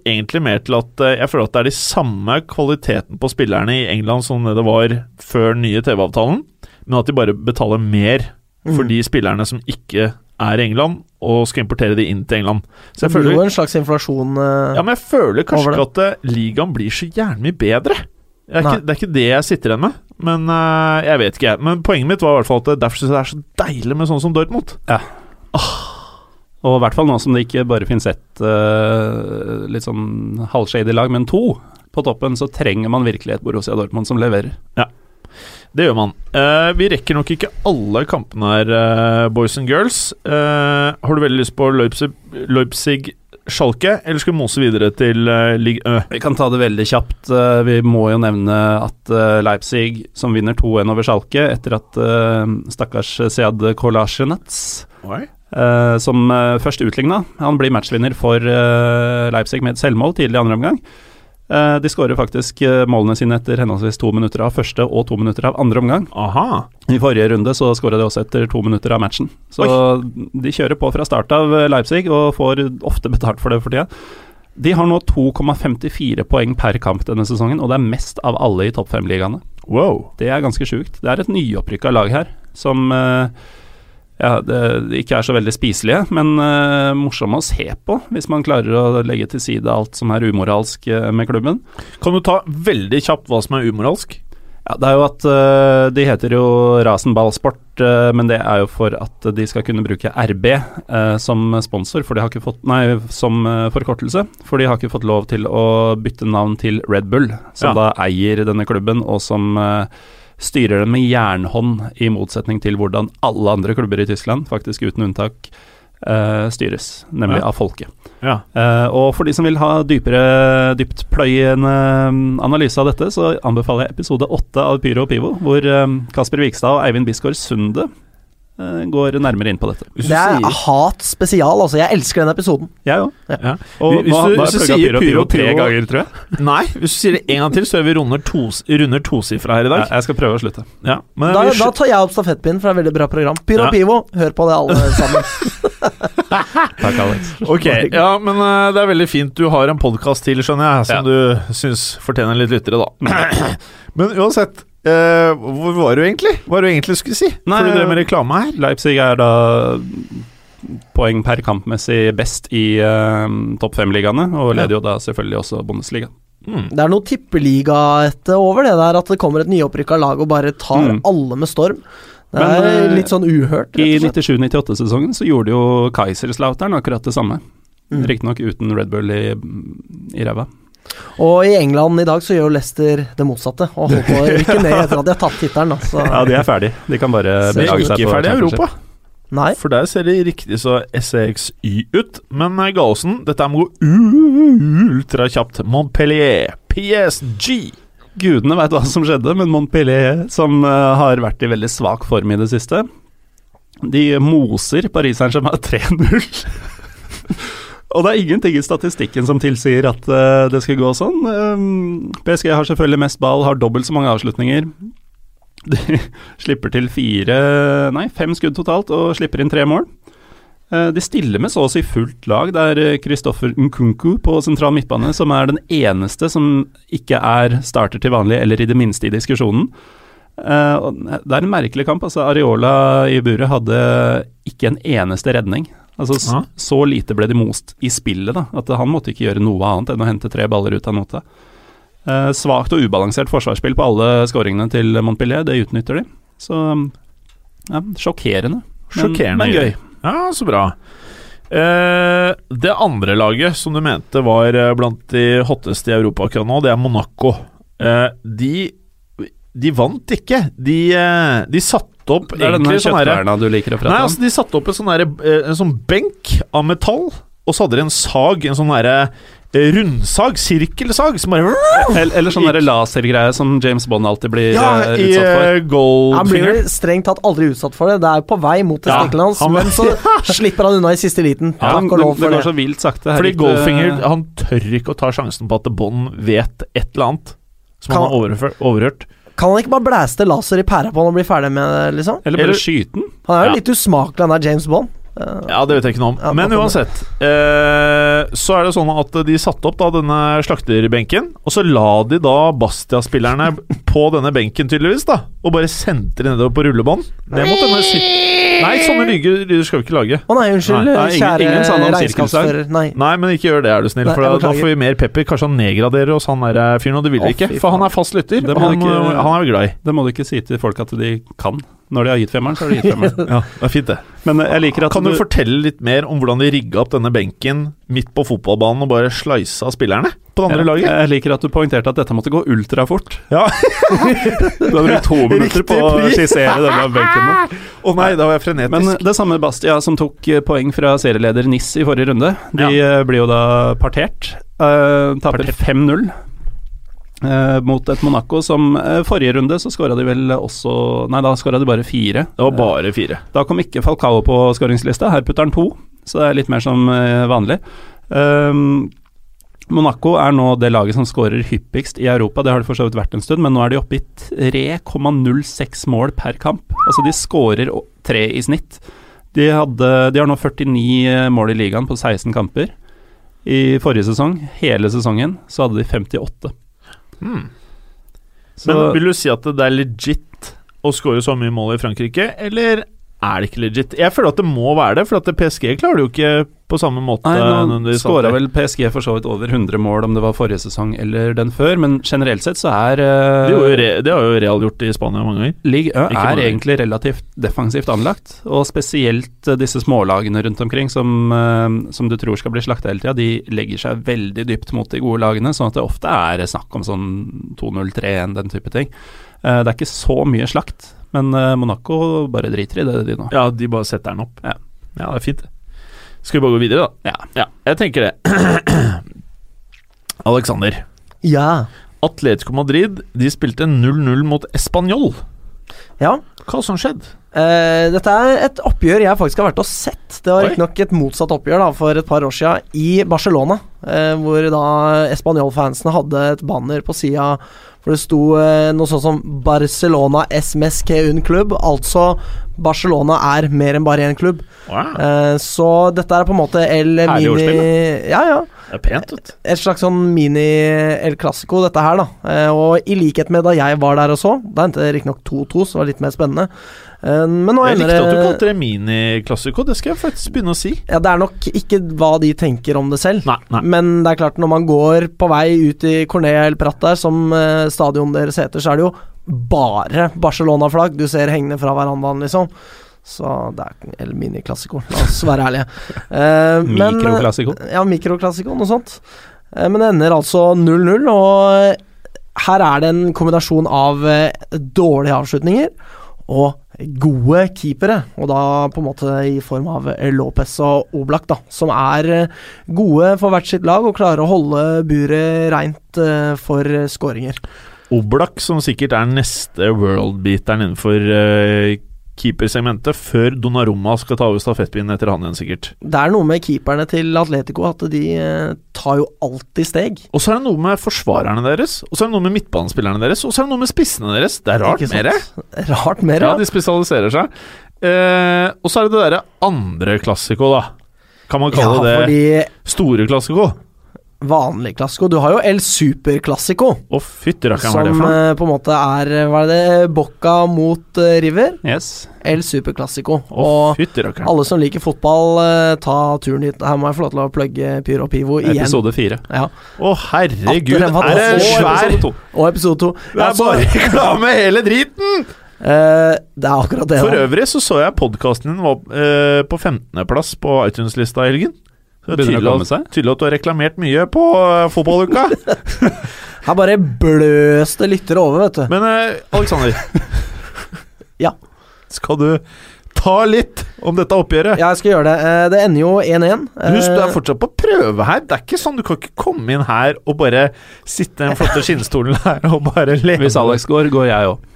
C: egentlig mer til at eh, jeg føler at det er de samme kvaliteten på spillerne i England som det det var før den nye TV-avtalen, men at de bare betaler mer for
D: Mm.
C: de spillerne som ikke er i England, og skal importere de inn til England. Så
D: Det
C: jeg
D: blir
C: føler
D: jo en slags inflasjon eh,
C: ja, men jeg føler kanskje
D: Over
C: ikke at eh, ligaen blir så jævlig mye bedre. Det er,
D: Nei.
C: ikke, det er ikke det jeg sitter igjen med, men eh, jeg vet ikke. jeg. Men poenget mitt var i hvert fall at det- derfor syns jeg det er så deilig med sånn som Dortmund.
E: Og i hvert fall nå som det ikke bare finnes ett eh, litt sånn halvshady lag, men to på toppen, så trenger man virkelig et Borussia Dortmund som leverer.
C: Det gjør man. Eh, vi rekker nok ikke alle kampene her, eh, boys and girls. Eh, har du veldig lyst på Leipzig, Leipzig Schalke, eller skal vi mose videre til uh, Ligue Ø?
E: Vi kan ta det veldig kjapt. Eh, Vi må jo nevne at eh, Leipzig, som vinner 2-1 over Schalke etter at eh, stakkars Sead Kolasjenets Eh, som eh, først utligna. Han blir matchvinner for eh, Leipzig med et selvmål tidlig i andre omgang. Eh, de skårer faktisk eh, målene sine etter henholdsvis to minutter av første og to minutter av andre omgang.
C: Aha.
E: I forrige runde så skåra de også etter to minutter av matchen. Så de kjører på fra start av eh, Leipzig, og får ofte betalt for det for tida. De har nå 2,54 poeng per kamp denne sesongen, og det er mest av alle i topp fem-ligaene.
C: Wow.
E: Det er ganske sjukt. Det er et nyopprykka lag her, som eh, ja, det, ikke er så veldig spiselige, men eh, morsomme å se på, hvis man klarer å legge til side alt som er umoralsk eh, med klubben.
C: Kan du ta veldig kjapt hva som er umoralsk?
E: Ja, det er jo at eh, De heter jo Rasenballsport, eh, men det er jo for at de skal kunne bruke RB eh, som sponsor, for de har ikke fått Nei, som eh, forkortelse. For de har ikke fått lov til å bytte navn til Red Bull,
C: Ja.
E: som da eier denne klubben, og som eh, styrer den med jernhånd, i motsetning til hvordan alle andre klubber i Tyskland, faktisk uten unntak, eh, styres, nemlig
C: Ja.
E: av folket.
C: Ja.
E: Eh, og for de som vil ha dypere, dyptpløyende mm, analyse av dette, så anbefaler jeg episode åtte av Pyro og Pivo, hvor eh, Kasper Vikstad og Eivind Bisgaard Sunde eh, går nærmere inn på dette.
C: Hvis du
D: Det er ah.
C: sier,
D: hat spesial, altså. Jeg elsker den episoden.
E: Jeg òg.
C: ja.
E: Og
C: Hvis
E: nå,
C: du-
E: nå har
C: hvis du
E: jeg plugga
C: sier
E: Pyro
C: Pyro
E: og Pivo
C: og
E: tre
C: Pivo-
E: ganger, tror jeg.
C: Nei, hvis du sier det en gang til, så er vi runder, tos, runder tosifra her i
E: Ja,
C: dag.
E: jeg skal prøve å slutte.
C: Ja. Men
D: Da,
C: vi
D: da
C: sl-
D: tar jeg opp stafettpinnen, for det er et veldig bra program. Pyro
C: Ja.
D: Pivo, hør på det alle sammen.
E: Takk, Alex.
C: Ok, ja, men eh, det er veldig fint. Du har en podkast til, skjønner jeg, som du syns fortjener litt lyttere, da. men uansett, eh, hvor var du egentlig? Hva var det du egentlig skulle si?
E: Nei, eh,
C: For du drev med reklame her.
E: Leipzig er da mm, poeng per kampmessig best i eh, topp fem-ligaene, og leder jo da selvfølgelig også Bundesliga. mm.
D: Det er noe tippeligaete over det der, at det kommer et nyopprykka lag og bare tar
E: Mm.
D: alle med storm. Det
E: Men,
D: er
E: eh,
D: litt sånn uhørt. rett og
E: I
D: slett.
E: 97-98-sesongen så gjorde jo Kaiserslautern akkurat det samme.
D: Mm.
E: Riktignok uten Red Bull i, mm, i ræva.
D: Og i England i dag så gjør jo Leicester det motsatte, og holder på å rykke ned etter at de har tatt tittelen. da, så-
E: Ja, de er ferdig. De kan bare
D: Så-
C: Vi er
E: belage seg
C: ikke
E: på
C: ferdig i Europa,
D: Nei.
C: for der ser det riktig så SEXY ut. Men eh, Galesen, dette må gå ultrakjapt. Montpellier, PSG.
E: Gudene veit hva som skjedde, men Montpellier, som eh, har vært i veldig svak form i det siste, de moser Paris Saint-Germain 3-0. Og det er ingenting i statistikken som tilsier at eh, det skal gå sånn. Um, PSG har selvfølgelig mest ball, har dobbelt så mange avslutninger. De slipper til fire, nei, fem skudd totalt og slipper inn tre mål. Eh, De stiller med så å si fullt lag. Det er eh, Christoffer Nkunku på sentral midtbane som er den eneste som ikke er starter til vanlig, eller i det minste i diskusjonen. Eh, og Det er en merkelig kamp. altså Areola i buret hadde ikke en eneste redning. Altså s-
C: Ja.
E: Så lite ble de most i spillet da, at han måtte ikke gjøre noe annet enn å hente tre baller ut av nota. Eh, Svakt og ubalansert forsvarsspill på alle skåringene til Montpellier, det utnytter de. Så mm, ja, sjokkerende. Men-
C: Sjokkerende.
E: men gøy.
C: Ja, så bra. Eh, det andre laget som du mente var eh, blant de hotteste i Europa akkurat nå, det er Monaco. Eh, de De vant ikke. De, eh, de satte opp
E: Det er denne
C: egentlig sånn herre
E: kjøttverna du liker å prate
C: Nei,
E: om.
C: altså De satte opp en sånn, derre, eh, en sånn benk av metall, og så hadde de en sag, en sånn derre eh, rundsag, sirkelsag, som bare
E: Eller, eller sånn der lasergreie som James Bond alltid blir
C: Ja,
E: eh,
C: i
E: utsatt for.
C: eh, Goldfinger.
D: Han blir vel strengt tatt aldri utsatt for det. Det er jo på vei mot
C: Ja,
D: testiklene hans,
C: han-
D: men så slipper han unna i siste liten.
E: Ja,
D: Takk og
E: det,
D: lov
E: det
D: for
E: går
D: det.
E: så vilt sakte. her
C: Fordi
E: ute.
C: Goldfinger han tør ikke å ta sjansen på at Bond vet et eller annet som
D: Kan-
C: han har overfør- overhørt.
D: Kan han ikke bare blæste laser i pæra på han og bli ferdig med det, liksom?
E: Eller
C: eller-
E: bare skyte den.
D: Han er jo
C: Ja.
D: litt usmakelig, han der James Bond. Eh,
C: Ja, det vet jeg ikke noe om.
D: Ja,
C: Men
D: hva for
C: uansett, eh, så er det sånn at de satte opp da denne slakterbenken, og så la de da Bastia-spillerne på denne benken, tydeligvis, da, og bare sendte de nedover på rullebånd. Ned mot denne si Nei, sånne lyder lyder skal vi ikke lage.
D: Å nei, unnskyld,
C: Nei,
E: nei, ingen-
D: kjære
E: ingen sa noe om
D: regnskapsfører. Nei.
C: Nei, men ikke gjør det, er du snill,
D: Nei,
C: for
D: jeg
C: da, da
D: beklager.
C: får vi mer pepper. Kanskje han nedgraderer oss, han der eh, fyren, og det vil
D: Å,
C: vi ikke.
D: fy
C: For han
D: faen.
C: er fast lytter,
E: Det må
C: og han,
E: du ikke-
C: eh, han er vi glad i.
E: Det må du ikke si til folk at de kan. Når de har gitt femmeren, så har de gitt femmeren.
C: Ja, det er fint, det.
E: Men eh, jeg liker at
C: Kan du fortelle litt mer om hvordan de rigga opp denne benken midt på fotballbanen og bare slisa spillerne på det andre
E: Ja,
C: laget?
E: Jeg liker at du poengterte at dette måtte gå ultrafort.
C: Ja.
E: Du har brukt to minutter på å
C: pris.
E: skissere denne benken. nå.
C: Å nei, da var jeg frenetisk.
E: Men eh, det samme Bastia som tok eh, poeng fra serieleder Nis i forrige runde. De eh, blir jo da partert. Eh, taper 5-0 eh, mot et Monaco som eh, forrige runde så skåra de vel også Nei, da skåra de bare fire.
C: det var bare fire.
E: Da kom ikke Falcao på skåringslista. Her putter han to, så det er litt mer som eh, vanlig. Ehm, Monaco er nå det laget som skårer hyppigst i Europa. Det har det for så vidt vært en stund, men nå er de oppe i 3,06 mål per kamp. Altså de skårer å- tre i snitt. De, hadde, de har nå 49 mål i ligaen på 16 kamper. I forrige sesong, hele sesongen, så hadde de 58.
C: Hmm.
E: Så
C: Men vil du si at det er legit å score så mye mål i Frankrike, eller er det ikke legit. Jeg føler at det må være det, for at PSG klarer det jo ikke på samme måte.
E: Nei, nå
C: nødvendigvis
E: skåra
C: alltid.
E: vel PSG for så vidt over 100 mål, om det var forrige sesong eller den før, men generelt sett så er eh,
C: det, gjorde jo re, det har jo Real gjort i Spania mange ganger.
E: Ligue
C: Ikke
E: 1 er
C: mange.
E: egentlig relativt defensivt anlagt, og spesielt eh, disse smålagene rundt omkring som, eh, som du tror skal bli slakta hele tida, de legger seg veldig dypt mot de gode lagene, sånn at det ofte er snakk om sånn 2-0-3-1, den type ting. Eh, Det er ikke så mye slakt, men eh, Monaco bare driter i det, de nå.
C: Ja, de bare setter den opp.
E: Ja.
C: Ja, det er fint. Skal vi bare gå videre, da? Ja. jeg tenker det. Alexander.
D: Ja.
C: Atletico Madrid de spilte 0-0 mot Español.
D: ja.
C: Hva som skjedde?
D: Eh, dette er et oppgjør jeg faktisk har vært og sett. Det var
C: Oi.
D: riktignok et motsatt oppgjør da, for et par år siden i Barcelona. eh, hvor da Español-fansen hadde et banner på sida hvor det sto eh, noe sånt som 'Barcelona es mes que un club'. Altså Barcelona er mer enn bare én klubb.
C: Wow,
D: Eh, så dette er på en måte El
C: Herlig ordspill,
D: Mini Ja, ja.
C: det er pent, vet du.
D: Et slags sånn mini-El Clasico, dette her, da. Eh, Og i likhet med da jeg var der og så, da endte det riktignok 2-2, så det var litt mer spennende. Eh, Men nå
C: Jeg
D: ender
C: likte at du
D: det
C: kalte det miniklassiko. Det skal jeg faktisk begynne å si.
D: ja, Det er nok ikke hva de tenker om det selv.
C: Nei, nei.
D: Men det er klart, når man går på vei ut i Cornea El Prat der, som eh, stadion deres heter, så er det jo bare Barcelona-flagg du ser hengende fra verandaen, liksom. Så det er ikke El Mini-klassiko, la oss være ærlige. Eh, men-
E: Mikroklassiko.
D: ja, mikroklassiko, noe sånt. Eh, Men det ender altså 0-0, og her er det en kombinasjon av eh, dårlige avslutninger og gode keepere, og da på en måte i form av Lopez og Oblak, da, som er eh, gode for hvert sitt lag og klarer å holde buret reint eh, for eh, skåringer.
C: Oblak, som sikkert er neste worldbeateren innenfor eh, keepersegmentet, før Donnarumma skal ta over stafettpinnen etter han igjen, sikkert.
D: Det er noe med keeperne til Atletico at de eh, tar jo alltid steg.
C: Og så er det noe med forsvarerne deres, og så er det noe med midtbanespillerne deres, og så er det noe med spissene deres. Det er rart
D: Ikke sant?
C: mer.
D: Rart mer,
C: Ja,
D: ja.
C: de spesialiserer seg. Eh, og så er det det derre andre klassiko, da. Kan man kalle
D: ja,
C: det
D: fordi
C: store klassiko?
D: vanlig klassiko Du har jo El Super-klassiko.
C: Å, fytti rakkeren, hva er det
D: Som
C: for noe?
D: eh, på en måte er Hva er det? Bocca mot eh, River.
E: Yes.
D: El Superclásico.
C: Å,
D: og
C: fytti rakkeren.
D: alle som liker fotball, eh, ta turen hit. Her må jeg få lov til å plugge Pyro Pivo igjen.
E: Episode fire.
D: Ja.
C: Å, herregud,
D: At den var
C: er det
D: så-
C: svær
E: Episode to.
D: Og episode to.
C: Det er bare reklame, hele driten!
D: Eh, det er akkurat det.
C: For
D: da.
C: øvrig så så jeg podkasten din var eh, på 15.-plass på iTunes-lista i helgen. Så det er
E: Begynner å
C: tydelig,
E: komme
C: at-
E: seg.
C: tydelig at du har reklamert mye på eh, fotballuka.
D: Her bare bløste lyttere over, vet du.
C: Men eh, Alexander
D: Ja.
C: Skal du ta litt om dette oppgjøret?
D: Jeg skal gjøre det. Eh, det ender jo 1-1. Eh,
C: Husk, du er fortsatt på prøve her. Det er ikke sånn Du kan ikke komme inn her og bare sitte i den flotte skinnstolen her og bare lene
E: Hvis Alex går, går jeg òg.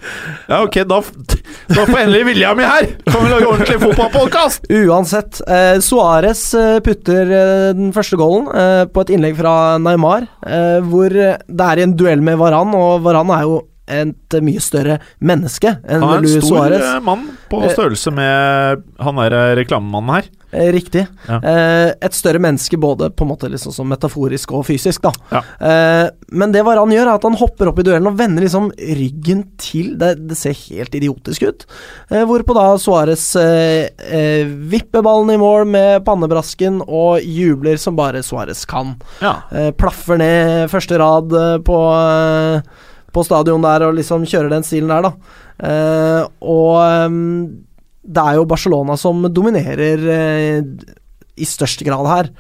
C: Ja, ok, da, f- da får endelig William i her! Kan vi lage ordentlig fotballpodkast?
D: Uansett. Eh, Suárez eh, putter eh, den første goalen eh, på et innlegg fra Neymar, eh, hvor eh, det er i en duell med Varan, og Varan er jo et eh, mye større menneske enn
C: Han er
D: Lu
C: en stor
D: Suárez.
C: eh, mann på
D: Eh,
C: størrelse med han der eh, reklamemannen her.
D: Eh, Riktig.
C: Ja.
D: Eh, et større menneske både på en måte liksom som metaforisk og fysisk, da.
C: Ja.
D: Eh, men det Varan gjør, er at han hopper opp i duellen og vender liksom ryggen til. Det, det ser helt idiotisk ut. Eh, hvorpå da Suárez eh, eh, vipper ballen i mål med pannebrasken og jubler som bare Suárez kan.
C: Ja.
D: Eh, plaffer ned første rad eh, på, eh, på stadion der og liksom kjører den stilen der, da. Eh, og ehm, det er jo Barcelona som dominerer eh, i størst grad her.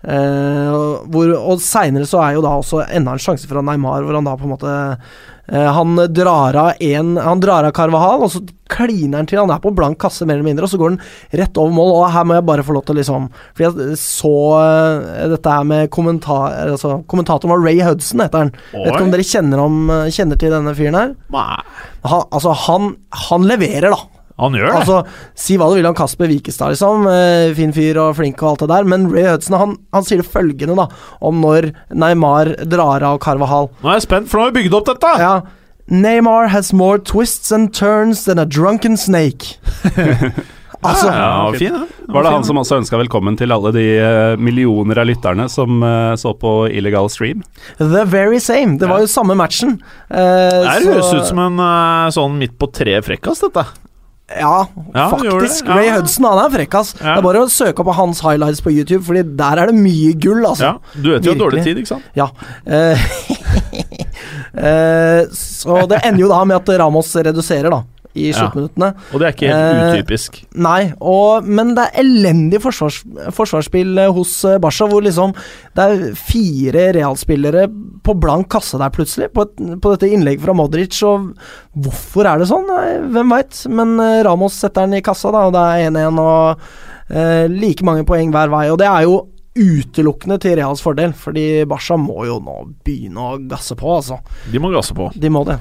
D: Eh, hvor, og seinere så er jo da også enda en sjanse fra Neymar, hvor han da på en måte eh, Han drar av en Han drar av Carvahal, og så kliner han til. Han er på blank kasse, mer eller mindre, og så går han rett over mål. Og her må jeg bare få lov til å liksom Fordi jeg så eh, dette her med kommentar... Altså, kommentatoren var Ray Hudson, heter han. Vet ikke om dere kjenner, om, kjenner til denne fyren her?
C: Nei,
D: Han, altså, han, han leverer, da.
C: han gjør det.
D: Altså, Si hva du vil om Kasper Wikestad, liksom. eh, Fin fyr og flink og alt det der. Men Ray Hudson han, han sier det følgende da om når Neymar drar av Carvahal.
C: Nå er jeg spent, for nå har vi bygd opp dette!
D: Ja, Neymar has more twists and turns than a drunken snake. altså,
C: ja, fin, ja.
E: Var det han som også ønska velkommen til alle de eh, millioner av lytterne som eh, så på illegal stream?
D: the very same. Det var jo samme matchen. Eh,
C: Det her
D: så-
C: høres ut som en eh, sånn midt på tre frekkas, dette.
D: Ja,
C: Ja, du gjorde
D: faktisk.
C: det, ja.
D: Ray Hudson han er frekk, ass.
C: Ja.
D: Det er bare å søke opp på hans highlights på YouTube, Fordi der er det mye gull, altså.
C: Ja, du vet jo at dårlig tid,
D: Virkelig.
C: ikke sant?
D: Ja. Eh, eh, så det ender jo da med at Ramos reduserer, da, i
C: Ja.
D: sluttminuttene.
C: Og det er ikke helt
D: Eh,
C: utypisk.
D: Nei, og, men det er elendig forsvars, forsvarsspill eh, hos eh, Barca, hvor liksom det er fire realspillere på blank kasse der plutselig, på, et, på dette innlegget fra Modric, og hvorfor er det sånn? Nei, hvem veit, men eh, Ramos setter den i kassa, da, og det er 1-1 og eh, like mange poeng hver vei, og det er jo utelukkende til Reals fordel, fordi Barca må jo nå begynne å gasse på, altså.
C: De må gasse på.
D: De må det.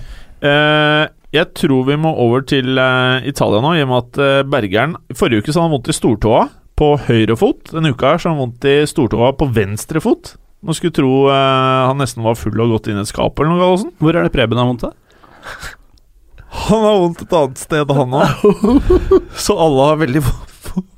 C: Eh, jeg tror vi må over til eh, Italia nå, i og med at eh, Bergeren Forrige uke så hadde han vondt i stortåa på høyre fot. Denne uka her så har han vondt i stortåa på venstre fot. Man skulle tro eh, han nesten var full og gått inn i et skap eller noe. Gallosen.
E: Hvor er det Preben har vondt av?
C: Han har vondt et annet sted, han òg. så alle har veldig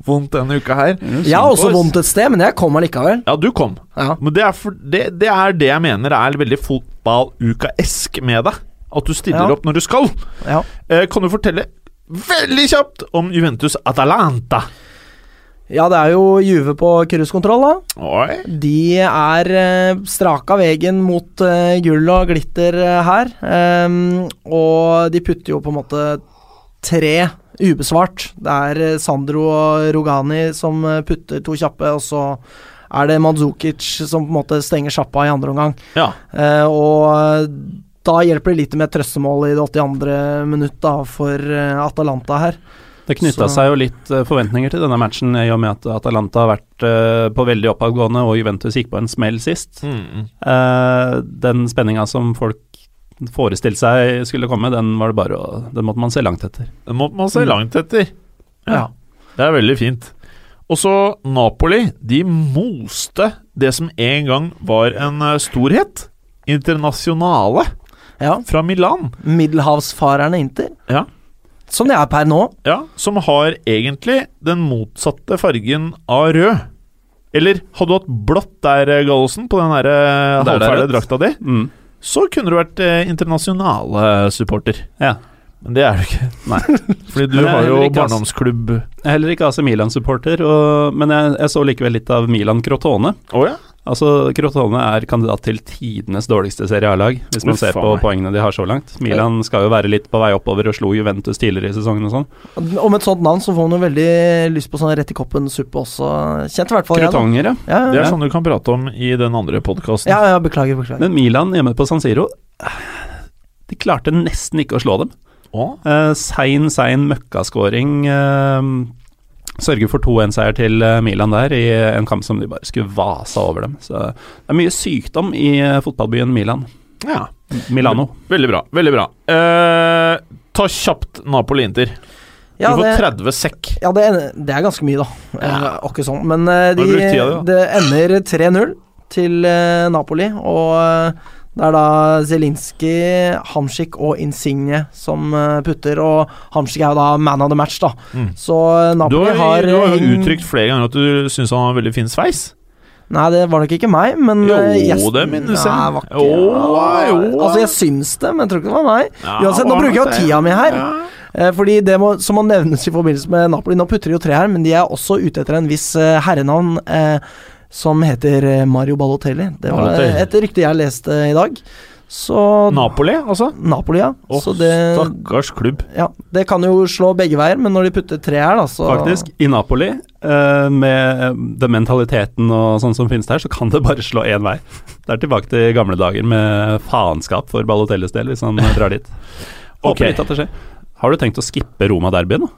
C: vondt denne uka her.
D: Jeg har også vondt et sted, men jeg kom allikevel.
C: Ja, du kom.
D: Ja.
C: Men det er, for, det, det er det jeg mener er veldig fotballuka-esk med deg. At du stiller
D: Ja.
C: opp når du skal.
D: ja.
C: Eh, kan du fortelle veldig kjapt om Juventus Atalanta?
D: Ja, det er jo Juve på cruisekontroll, da.
C: Oi.
D: De er eh, straka veien mot eh, gull og glitter eh, her. Ehm, og de putter jo på en måte tre ubesvart. Det er eh, Sandro og Rogani som eh, putter to kjappe, og så er det Mandzukic som på en måte stenger sjappa i andre omgang.
C: Ja.
D: Eh, og da hjelper det lite med et trøstemål i det 82. minutt da, for eh, Atalanta her.
E: Det knytta
D: Så-
E: seg jo litt eh, forventninger til denne matchen eh, i og med at Atalanta har vært eh, på veldig oppadgående og Juventus gikk på en smell sist.
C: Mm.
E: Eh, Den spenninga som folk forestilte seg skulle komme, den var det bare å Den måtte man se langt etter.
C: Det må man se langt etter.
D: Mm. Ja.
C: Det er veldig fint. Og så Napoli. De moste det som en gang var en eh, storhet. Internasjonale
D: Ja,
C: fra Milan.
D: Middelhavsfarerne Inter.
C: Ja.
D: Som de er per nå.
C: Ja, som har egentlig den motsatte fargen av rød. Eller hadde du hatt blått der, eh, Gallosen, på den der, eh,
E: Der er det
C: halvferdige
E: rødt.
C: drakta di, så kunne du vært eh, internasjonale supporter.
E: Ja.
C: Men det er du ikke.
E: Nei.
C: Fordi du
E: Men jeg
C: har
E: er
C: jo
E: heller ikke, ass.
C: barndomsklubb Å
E: Jeg er heller ikke AC Milan-supporter, og- men jeg, jeg så likevel litt av Milan Crotone.
C: ja?
E: Altså, Crotone er kandidat til tidenes dårligste Serie A-lag, hvis man
C: Uff,
E: ser på
C: faen meg.
E: poengene de har så langt. Milan skal jo være litt på vei oppover og slo Juventus tidligere i sesongen og sånn.
D: Om et sånt navn så får man jo veldig lyst på sånn rett i koppen-suppe også. Kjent i hvert fall jeg, da.
E: Crotonger, ja.
D: Ja,
C: Det
D: ja,
C: er
E: Ja.
C: sånn du kan prate om i den andre podkasten.
D: ja, ja, beklager, beklager.
E: Men Milan hjemme på San Siro De klarte nesten ikke å slå dem. Eh, sein, sein møkkaskåring. Eh, sørger for 2-1-seier til eh, Milan der i en kamp som de bare skulle vase over dem. Så det er mye sykdom i eh, fotballbyen Milan.
C: Ja.
E: Milano.
C: Veldig bra. Veldig bra. Eh, ta kjapt Napoli-Inter.
D: Ja,
C: du får
D: det,
C: 30 sekk.
D: ja det, en- det er ganske mye, da. Eh, Åkke sånn. Men eh, de,
C: Har du brukt tida di,
D: det ender 3-0 til eh, Napoli, og eh, det er da Zelinskyj, Hamsik og Insigne som eh, putter, og Hamsik er jo da man of the match, da.
C: Mm.
D: Så eh,
C: Du
D: Napoli
C: har,
D: har
C: du har
D: eh,
C: jo
D: en-
C: uttrykt flere ganger at du syns han har veldig fin sveis.
D: Nei, det var nok ikke meg, men
C: Jo,
D: eh, gjesten-
C: det minnes jeg.
D: Nei, var ikke-
C: Jo, jo.
D: Altså, jeg syns det, men jeg tror ikke det var meg. Uansett, nå
C: hva
D: bruker jeg jo
C: vet
D: tida mi her.
C: Ja.
D: Eh, Fordi det må, som må nevnes i forbindelse med Napoli Nå putter de jo tre her, men de er også ute etter en viss eh, herrenavn eh, som heter eh, Mario Balotelli. Det var
C: Balotelli.
D: eh, et rykte jeg leste i dag. Så
C: Napoli, altså?
D: Napoli, ja.
C: Åh,
D: så det,
C: stakkars klubb.
D: ja. Det kan jo slå begge veier, men når de putter tre her, da, så
E: Faktisk, i Napoli, eh, med eh, den mentaliteten og sånn som finnes der, så kan det bare slå én vei. Det er tilbake til gamle dager med faenskap for Balotellis del, hvis han drar dit. Håper
C: Ok.
E: litt at det skjer. Har du tenkt å skippe Roma-derbyen? da?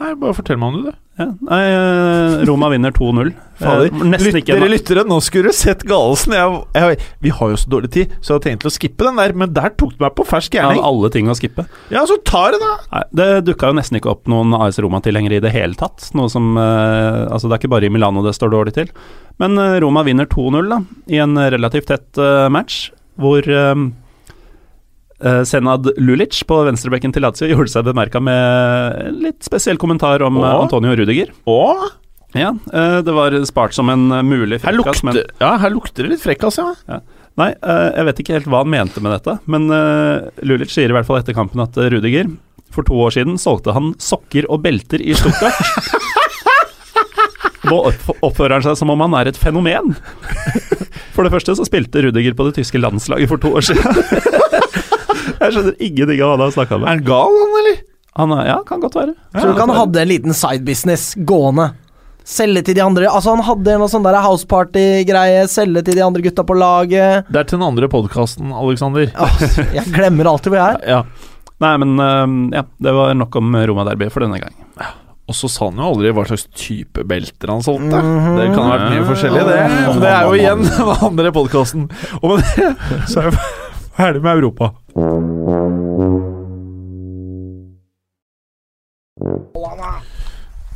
C: Nei, bare fortell meg om det, du.
E: Ja. Nei, eh, Roma vinner 2-0. Eh, nesten ikke en-
C: dere lyttere, nå skulle du sett Galesen. Jeg, jeg, vi har jo så dårlig tid, så jeg hadde tenkt å skippe den der, men der tok du meg på fersk gjerning.
E: Av alle ting å skippe.
C: Ja, så tar det, da!
E: Nei, det dukka jo nesten ikke opp noen AS Roma-tilhengere i det hele tatt. Noe som, eh, altså Det er ikke bare i Milano det står dårlig til. Men eh, Roma vinner 2-0 da, i en relativt tett eh, match, hvor eh, eh, Senad Lulic på venstrebekken til Lazio gjorde seg bemerka med en litt spesiell kommentar om eh,
C: Åh.
E: Antonio Rudiger.
C: Åh,
E: Ja, eh, Det var spart som en eh, mulig
C: her
E: frekkas, men-
C: lukter, ja, her lukter det litt frekkas, ja.
E: Nei, eh, jeg vet ikke helt hva han mente med dette, men eh, Lulic sier i hvert fall etter kampen at eh, Rudiger For to år siden solgte han sokker og belter i Stuttgart. Nå opp- oppfører han seg som om han er et fenomen. For det første så spilte Rudiger på det tyske landslaget for to år siden. Jeg skjønner ingenting av hva han har snakka
C: Er
E: med.
C: han gal, han, eller?
E: Han er, ja, kan godt være.
D: Tror du ikke han hadde en liten sidebusiness gående? Selge til de andre Altså, han hadde noe sånn der houseparty-greie, selge til de andre gutta på laget.
C: Det er til den andre podkasten, Aleksander.
D: Åh, jeg glemmer alltid hvor jeg er.
C: Ja.
E: Nei, men øhm, ja, det var nok om Roma-derby for denne gang.
C: Og så sa han jo aldri hva slags type belter han solgte.
D: Mhm.
C: Det kan ha vært mye forskjellig, det.
A: Mm.
C: Men det er jo igjen den andre podkasten. Og med det så er vi ferdig med Europa.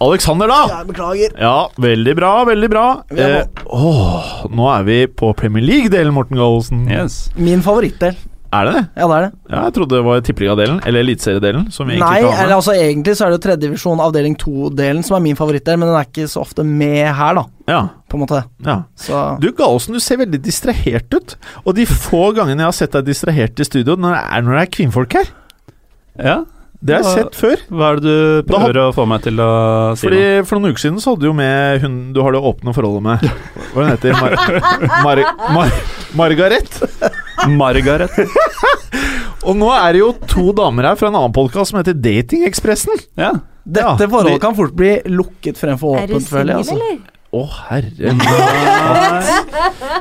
C: Alexander, da!
D: Jeg beklager.
C: Ja, veldig bra, veldig bra.
D: Vi er
C: Eh, åh, nå er vi på Premier League-delen, Morten Gallosen.
E: Yes.
D: Min favorittdel.
C: Er det det?
D: Ja, det er det.
C: Ja, jeg trodde det var tippeligadelen, eller eliteseriedelen, som vi egentlig
D: Nei,
C: ikke har med.
D: eller altså egentlig så er det jo tredjedivisjon avdeling 2-delen som er min favorittdel, men den er ikke så ofte med her, da,
C: Ja,
D: på en måte.
C: ja.
D: Så
C: Du Gallosen, du ser veldig distrahert ut. Og de få gangene jeg har sett deg distrahert i studio, når det er, når det er kvinnfolk her.
E: Ja,
C: Det har jeg
E: Hva-
C: sett før.
E: hva er det du
C: Da hop-
E: prøver å få meg til å si
C: Fordi
E: nå?
C: For noen uker siden så hadde du jo med hun du har det åpne forholdet med. Hva hun heter Mar Mar Mar Margaret.
E: Margaret.
C: Og nå er det jo to damer her fra en annen podkast som heter Datingekspressen.
E: Ja.
D: dette
C: Ja,
D: forholdet
C: de-
D: kan fort bli lukket fremfor
B: Er du
D: åpent,
B: singel,
D: føler jeg. Altså.
B: eller?
C: Å, herre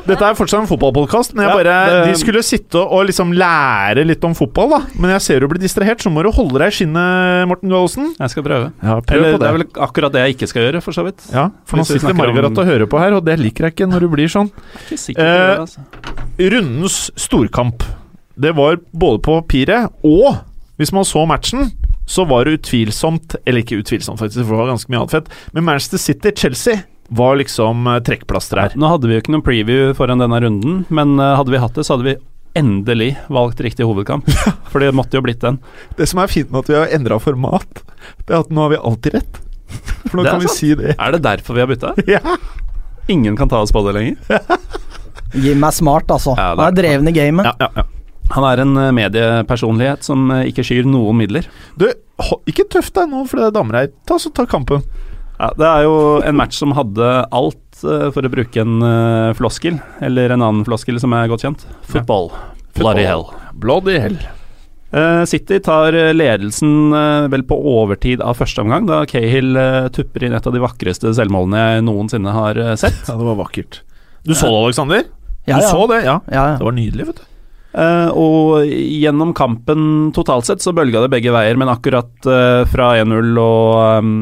C: Dette er fortsatt en fotballpodkast, men jeg
E: Ja,
C: bare,
E: det-
C: de skulle sitte og liksom lære litt om fotball, da. Men jeg ser du blir distrahert, så må du holde deg i skinnet, Morten Gallosen.
E: Jeg skal prøve.
C: Ja,
E: Eller det er vel akkurat det jeg ikke skal gjøre, for så vidt.
C: Ja, for nå
E: Hvis vi
C: sitter
E: snakker om-
C: Margaret og hører på her, og det liker jeg ikke når du blir sånn.
E: Ikke sikker på
C: Eh,
E: det, altså.
C: Rundens storkamp. Det var både på papiret, og hvis man så matchen, så var det utvilsomt Eller ikke utvilsomt, faktisk, for det var ganske mye annet fett. Men Manchester City-Chelsea var liksom eh, trekkplaster her.
E: Nå hadde vi jo ikke noen preview foran denne runden, men eh, hadde vi hatt det, så hadde vi endelig valgt riktig hovedkamp. For det måtte jo blitt den.
C: Det som er fint med at vi har endra format, det er at nå har vi alltid rett. For
E: Det er sant.
C: si det.
E: Er det derfor vi har bytta?
C: Ja.
E: Ingen kan ta oss på det lenger.
D: Jim er smart, altså.
E: Ja, det er-
D: Han er dreven i gamet.
C: Ja, ja, ja.
E: Han er en eh, mediepersonlighet som eh, ikke skyr noen midler.
C: Du, ho- ikke tøff deg nå, for det er damer her. Ta, så ta kampen.
E: Ja, det er jo en match som hadde alt, eh, for å bruke en eh, floskel, eller en annen floskel som er godt kjent. Football. Bloody hell.
C: Bloody hell.
E: Eh, City tar eh, ledelsen eh, vel på overtid av første omgang, da Cahill eh, tupper inn et av de vakreste selvmålene jeg noensinne har eh, sett.
C: Ja, det var vakkert. Du så det, Aleksander?
D: Ja,
C: Du
D: ja.
C: så det, ja.
D: Ja, ja.
C: Det var nydelig, vet du.
E: Eh, og gjennom kampen totalt sett så bølga det begge veier, men akkurat eh, fra 1-0 og, ehm,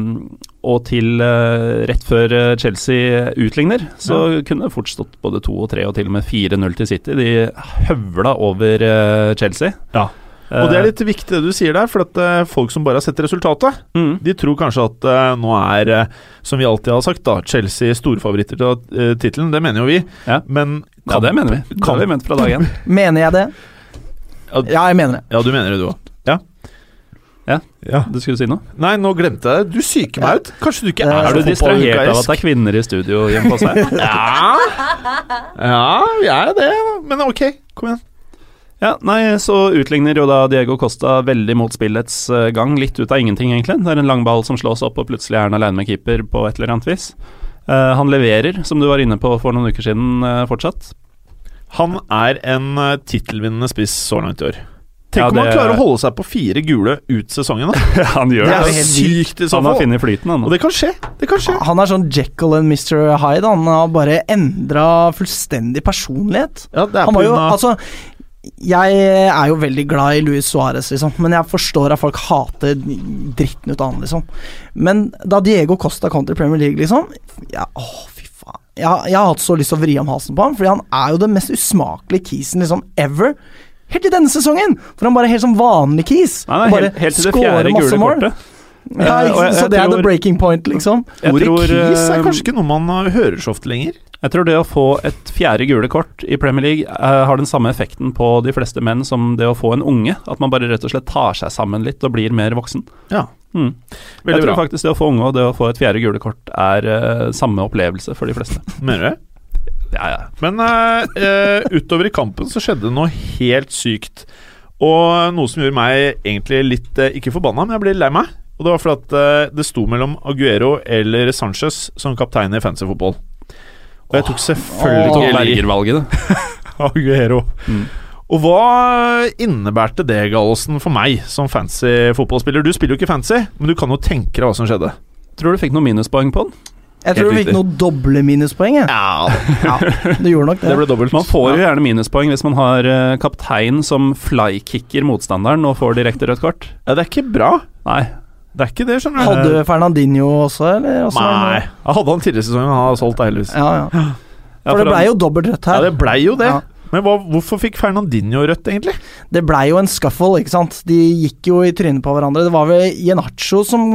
E: og til eh, rett før eh, Chelsea utligner, så kunne det fort stått både 2 og 3 og til og med 4-0 til City. De høvla over eh, Chelsea.
C: Ja. Og
E: Eh.
C: det er litt viktig det du sier der, for at eh, folk som bare har sett resultatet,
E: mm.
C: de tror kanskje at eh, nå er, eh, som vi alltid har sagt, da, Chelsea storfavoritter til uh, tittelen. Det mener jo vi,
E: Ja.
C: men
E: Ja, det mener vi. Det har vi ment fra dag én.
D: Mener jeg det?
C: Ja.
D: Ja, jeg mener det.
C: Ja, du mener det, du òg. Ja.
E: Ja.
C: ja.
E: Du skulle si noe?
C: Nei, nå glemte jeg det. Du psyker meg ut. Kanskje du ikke
D: Ja.
C: er,
E: Er du distrahert av at det er kvinner i studio hjemme hos deg?
C: Ja. ja, jeg er det. da. Men ok, kom igjen.
E: Ja, nei, så utligner jo da Diego Costa veldig mot spillets eh, gang. Litt ut av ingenting, egentlig. Det er en lang ball som slås opp, og plutselig er han aleine med keeper på et eller annet vis. Eh, han leverer, som du var inne på for noen uker siden, eh, fortsatt.
C: Han er en uh, tittelvinnende spiss så langt i år. Tenk
E: Ja,
C: om han
E: det-
C: klarer å holde seg på fire gule ut sesongen. Da.
E: han gjør
C: Det
D: er
C: er
D: jo
C: jo
D: helt
C: sykt i så
E: Han har
C: fall.
E: funnet flyten, han.
C: Og det kan skje. Det kan skje.
D: Han er sånn Jekyll and Mr. Hyde. Han har bare endra fullstendig personlighet.
C: Ja, det er
D: Han
C: på
D: var jo,
C: grunn av
D: altså jeg er jo veldig glad i Luis Suárez, liksom, men jeg forstår at folk hater dritten ut av han, liksom. Men da Diego Costa kom til Premier League, liksom ja, Åh, fy faen. Jeg, har- jeg har hatt så lyst til å vri om halsen på ham, fordi han er jo den mest usmakelige kisen liksom, ever. Helt til denne sesongen, for han bare er helt som vanlig kis.
E: Nei, nei,
D: og bare
E: helt, helt til det
D: scorer
E: fjerde
D: masse
E: gule
D: mål.
E: kortet.
D: Ja,
E: Eh,
D: ikke,
E: og jeg-
D: sant, så
E: jeg
D: det er
E: tror-
D: the breaking point, liksom.
E: Jeg
C: Ordet
E: tror,
C: kis
E: eh,
C: er kanskje ikke noe man uh, hører så ofte lenger.
E: Jeg tror det å få et fjerde gule kort i Premier League eh, har den samme effekten på de fleste menn som det å få en unge. At man bare rett og slett tar seg sammen litt og blir mer voksen.
C: Ja.
E: Mm.
C: Veldig
E: jeg tror
C: bra.
E: faktisk det å få unge og det å få et fjerde gule kort er eh, samme opplevelse for de fleste.
C: Mener du det?
E: Ja, ja.
C: Men eh, eh, utover i kampen så skjedde det noe helt sykt. Og noe som gjorde meg egentlig litt eh, Ikke forbanna, men jeg ble lei meg. Og det var fordi at eh, det sto mellom Aguero eller Sanchez som kaptein i fancy fotball. Og jeg tok
D: Åh.
C: selvfølgelig
E: Berger-valget, det.
C: Aguero.
E: Mm.
C: Og hva innebærte det, Gallosen, for meg som fancy fotballspiller? Du spiller jo ikke fancy, men du kan jo tenke deg hva som skjedde.
E: Tror du fikk noen minuspoeng på den?
D: Jeg tror du fikk
E: riktig.
D: noen doble minuspoeng. Jeg.
C: Ja,
D: Du gjorde nok det.
C: det ble dobbelt.
E: Man får jo gjerne minuspoeng hvis man har eh, kaptein som flykicker motstanderen og får direkte rødt kort.
C: Ja, det er ikke bra.
E: Nei.
C: Det er ikke det, skjønner du. Eh,
D: Hadde Fernandinho også, eller? Også,
C: Nei. Jeg hadde han tidligere i sesongen, han har solgt deg heldigvis.
D: Ja, ja. For,
E: Ja,
D: det blei jo dobbelt rødt
C: Ja,
D: her.
C: det blei jo det.
D: Ja.
C: Men hva, hvorfor fikk Fernandinho rødt, egentlig?
D: Det blei jo en scuffle, ikke sant. De gikk jo i trynet på hverandre. Det var vel Jenacho som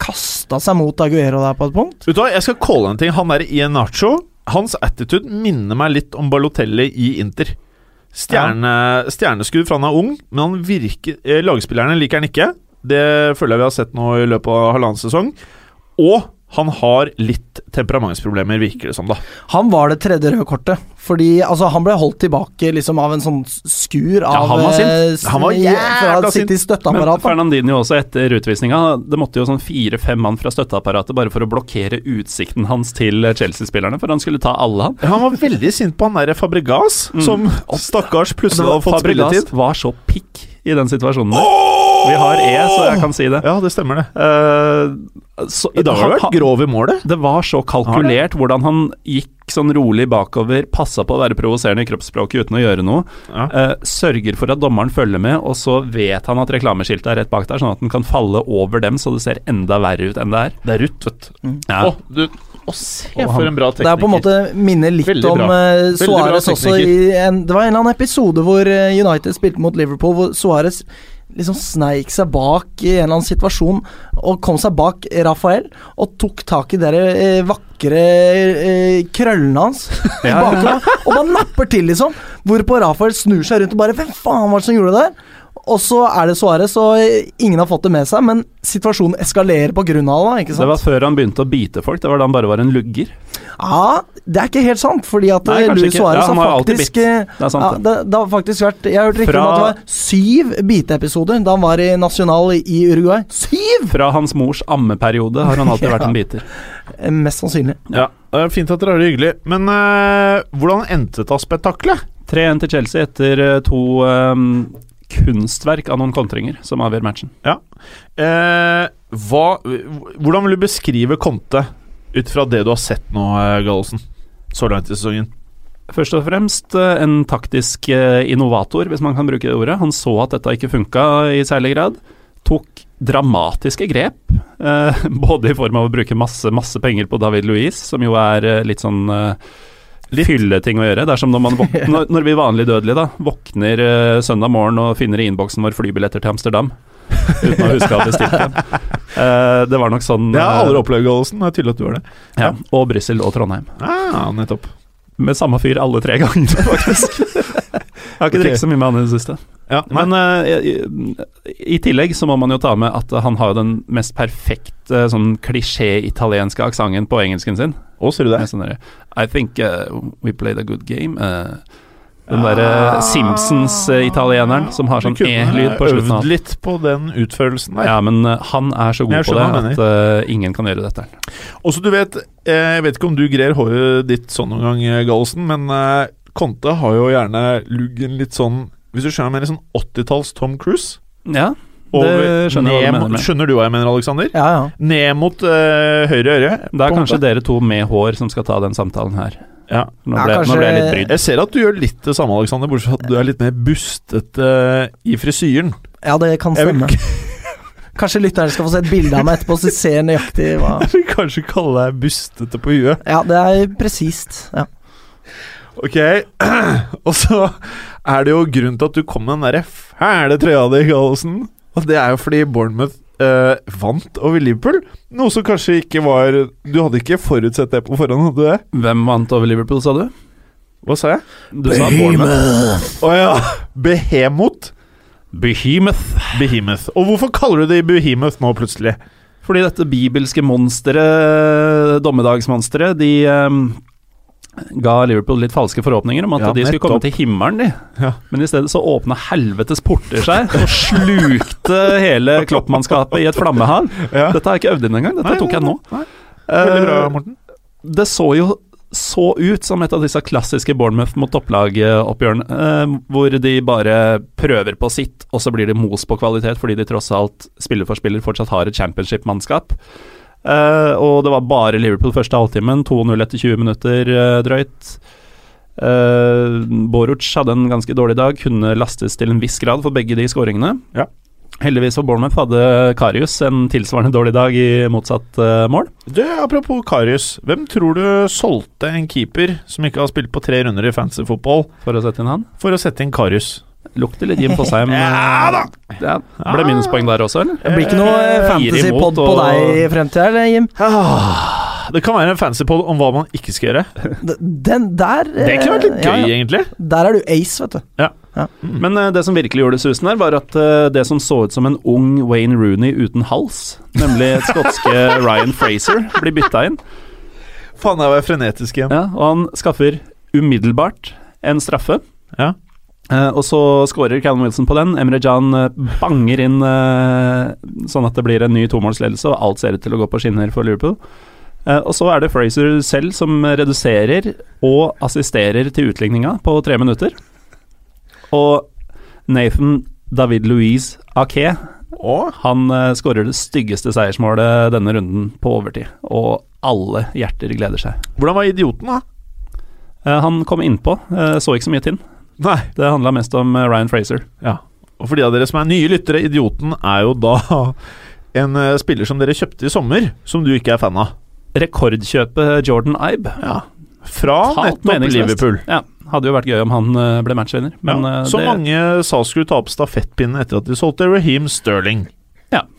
D: kasta seg mot Aguero der på et punkt.
C: Vet du hva, Jeg skal calle en ting. Han der i Nacho, hans attitude minner meg litt om Balotelli i Inter. Stjerne, Stjerneskudd fra han er ung, men han virker, eh, lagspillerne liker han ikke. Det føler jeg vi har sett nå i løpet av halvannen sesong. Og han har litt temperamentsproblemer, virker det som, da.
D: Han var det tredje røde kortet. Fordi altså, han ble holdt tilbake liksom av en sånn skur av
E: han var sint.
D: eh, s-
C: Han var jævla
D: fra
C: sint.
E: Men
D: Citys støtteapparat. da.
E: Fernandinho også etter utvisninga. Det måtte jo sånn fire-fem mann fra støtteapparatet bare for å blokkere utsikten hans til eh, Chelsea-spillerne, for han skulle ta alle, han.
C: Han var veldig sint på han derre Fabregas, som stakkars plutselig hadde fått
E: Fabregas
C: spilletid.
E: var så pikk i den situasjonen. der. Vi har E, så jeg kan si det.
C: Ja, det stemmer, det.
E: Eh, så-
C: I dag har du
E: han-
C: vært grov i målet.
E: Det var så kalkulert hvordan han gikk sånn rolig bakover, passa på å være provoserende i kroppsspråket uten å gjøre noe.
C: Ja.
E: Eh, sørger for at dommeren følger med, og så vet han at reklameskiltet er rett bak der, sånn at den kan falle over dem så det ser enda verre ut enn det er.
C: Det er Ruth, vet du.
E: Ja.
C: Å, du. Å, se
E: Og
C: for
E: han-
C: en bra tekniker.
D: Det er på en måte minner litt
C: Veldig
D: om
C: bra.
D: eh,
C: Veldig bra
D: Suárez også. I
C: tekniker.
D: en, det var en eller annen episode hvor eh, United spilte mot Liverpool, hvor Suárez liksom sneik seg bak i en eller annen situasjon og kom seg bak Rafael og tok tak i de eh, vakre eh, krøllene hans. i
E: Ja.
D: bakgrunnen, og man napper til, liksom. Hvorpå Rafael snur seg rundt og bare Hvem faen var det som gjorde det der? Og så er det Suárez, og eh, ingen har fått det med seg, men situasjonen eskalerer på grunn av det. da, ikke sant?
E: Det var før han begynte å bite folk, det var da han bare var en lugger.
D: Ja, det er ikke helt sant, fordi at
E: Nei,
D: eh,
E: kanskje
D: Luis
E: ikke.
D: Suárez
E: Ja, han
D: har
E: har jo alltid
D: faktisk
E: bitt.
D: eh,
E: Det er sant,
D: ja,
E: det.
D: det, det har faktisk vært Jeg har hørt rykter om at det
E: Fra-
D: var syv biteepisoder da han var i National i Uruguay. Syv!
E: Fra hans mors ammeperiode har han alltid vært en biter.
D: Eh, Mest sannsynlig.
C: Ja, eh, Fint at dere har det hyggelig, men eh, hvordan endte dette spetakkelet?
E: 3-1 til Chelsea etter eh, to eh, kunstverk av noen kontringer som avgjør matchen.
C: Eh, hva, hvordan vil du beskrive Conte ut fra det du har sett nå, eh, Gallosen? Så langt i sesongen.
E: Først og fremst eh, en taktisk eh, innovator, hvis man kan bruke det ordet. Han så at dette ikke funka i særlig grad. Tok dramatiske grep, eh, både i form av å bruke masse, masse penger på David Louise, som jo er eh, litt sånn eh, fylleting å gjøre. Det er som når, man våk når, når vi vanlige dødelige da, våkner eh, søndag morgen og finner i innboksen vår flybilletter til Amsterdam. Uten å huske å ha bestilt dem. Eh, det var nok sånn
C: Det har jeg aldri
E: eh,
C: opplevd, Gallosen. Det er tydelig at du har det.
E: ja, Og Brussel og Trondheim.
C: Ah, nettopp.
E: Med samme fyr alle tre ganger, faktisk. Jeg har ikke
C: Ok.
E: drukket så mye med han i det siste.
C: Ja,
E: Men eh, i, i tillegg så må man jo ta med at han har jo den mest perfekte sånn klisjé-italienske aksenten på engelsken sin.
C: Å, ser du det?
E: Med sånn derre, I think eh, we played a good game. eh, den
C: Ah.
E: derre
C: eh,
E: Simpsons-italieneren som har sånn
C: Du kunne
E: e-lyd på slutten.
C: Øvd
E: av
C: litt på den utførelsen der.
E: ja, men eh, han er så god
C: Jeg
E: på det
C: skjønner hva
E: at
C: du
E: eh, ingen kan gjøre dette.
C: Og så du vet, eh, jeg vet ikke om du grer håret ditt sånn noen gang, eh, Gallosen, men eh, Conte har jo gjerne luggen litt sånn Hvis du skjønner, mer sånn 80-talls Tom Cruise.
E: Ja,
C: Over-
E: det skjønner jeg hva du
C: ned mot-
E: mener med.
C: Skjønner du hva jeg mener, Alexander?
D: Ja, ja.
C: Ned mot eh, høyre øre.
E: Det er
C: På en
E: kanskje
C: måte.
E: dere to med hår som skal ta den samtalen her.
C: Ja.
E: Nå
D: Ja,
E: ble, nå
D: kanskje-
E: ble jeg litt brydd.
C: Jeg ser at du gjør litt det samme, Alexander, bortsett fra at du er litt mer bustete i frisyren.
D: Ja, det kan
C: Jeg vil-
D: stemme. Kanskje lytteren skal få se et bilde av meg etterpå, så de ser nøyaktig hva
C: Jeg vil kanskje kalle deg bustete på huet.
D: Ja, det er presist. Ja.
C: Ok, og så er det jo grunnen til at du kom med den derre fæle trøya di, Gallosen. Og det er jo fordi Bournemouth eh, vant over Liverpool, noe som kanskje ikke var Du hadde ikke forutsett det på forhånd, hadde du det?
E: Hvem vant over Liverpool, sa du?
C: Hva sa jeg?
E: Du sa Bournemouth.
C: Å ja, Behemot.
E: Behemoth.
C: Behemoth. Og hvorfor kaller du det Behemoth nå, plutselig?
E: Fordi dette bibelske monsteret, dommedagsmonsteret, de, eh, ga Liverpool litt falske forhåpninger om at
C: Ja,
E: de skulle komme
C: nettopp.
E: til himmelen, de.
C: Ja.
E: Men i stedet så åpna helvetes porter seg og slukte hele kloppmannskapet i et flammehav.
C: Ja.
E: Dette har jeg ikke øvd inn engang, dette
C: Nei,
E: tok jeg
C: nei,
E: nå.
C: nei. Veldig bra,
E: Eh,
C: Morten.
E: det så jo så ut som et av disse klassiske Bournemouth mot topplag-oppgjørene, eh, hvor de bare prøver på sitt, og så blir de mos på kvalitet fordi de tross alt, spiller for spiller, fortsatt har et championship-mannskap. Eh, og det var bare Liverpool første halvtimen, 2-0 etter 20 minutter eh, drøyt. Eh, Boruc hadde en ganske dårlig dag, kunne lastes til en viss grad for begge de skåringene.
C: Ja.
E: Heldigvis for Bournemouth hadde Karius en tilsvarende dårlig dag i motsatt eh, mål.
C: Du, apropos Karius. Hvem tror du solgte en keeper som ikke har spilt på tre runder i fancy fotball,
E: For å sette inn han.
C: for å sette inn Karius?
E: Lukter litt Jim Fosheim.
C: Ja da!
E: Ja, ble minuspoeng der også, eller?
D: Det blir ikke noe
C: Eh,
E: imot
D: fantasy-pod på
E: og-
D: deg i fremtida, eller, Jim?
C: Ah, Det kan være en fancy poll om hva man ikke skal gjøre.
D: D- Den der eh,
C: Det kunne vært litt gøy,
D: ja, ja.
C: egentlig.
D: Der er du ace, vet du.
E: Men eh, det som virkelig gjorde susen her, var at eh, det som så ut som en ung Wayne Rooney uten hals, nemlig skotske Ryan Fraser, blir bytta inn.
C: Faen, jeg var frenetisk igjen.
E: Ja, og han skaffer umiddelbart en straffe.
C: Ja.
E: Eh, og så skårer Callum Wilson på den. Emre Can eh, banger inn eh, sånn at det blir en ny tomålsledelse, og alt ser ut til å gå på skinner for Liverpool. Eh, og så er det Fraser selv som reduserer og assisterer til utligninga på tre minutter. Og Nathan David Louise Ake,
C: Og
E: han eh, skårer det styggeste seiersmålet denne runden på overtid. Og alle hjerter gleder seg.
C: hvordan var idioten, da?
E: Eh, Han kom innpå, eh, så ikke så mye til.
C: Nei.
E: Det handla mest om eh, Ryan Fraser.
C: Ja. Og for de av dere som er nye lyttere, idioten er jo da en eh, spiller som dere kjøpte i sommer, som du ikke er fan av.
E: Rekordkjøpet Jordan Ibe.
C: Ja. Fra
E: Totalt
C: nettopp
E: meningsløst.
C: Liverpool.
E: Ja, hadde jo vært gøy om han eh, ble matchvinner, men
C: ja.
E: eh,
C: Som
E: det,
C: mange sa skulle ta opp stafettpinnen etter at de solgte Raheem Sterling.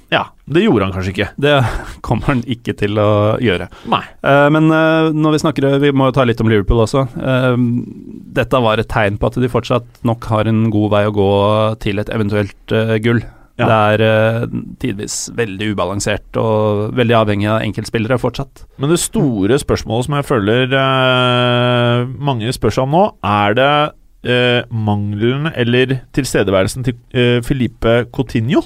E: Ja.
C: Det gjorde han kanskje ikke.
E: det kommer han ikke til å gjøre.
C: Nei.
E: Eh, men eh, når vi snakker Vi må jo ta litt om Liverpool også. Eh, dette var et tegn på at de fortsatt nok har en god vei å gå til et eventuelt eh, gull.
C: Ja.
E: Det er uh, tidvis veldig ubalansert og veldig avhengig av enkeltspillere fortsatt.
C: Men det store spørsmålet som jeg føler eh, mange spør seg om nå, er det eh, mangelen eller tilstedeværelsen til eh, Felipe Coutinho?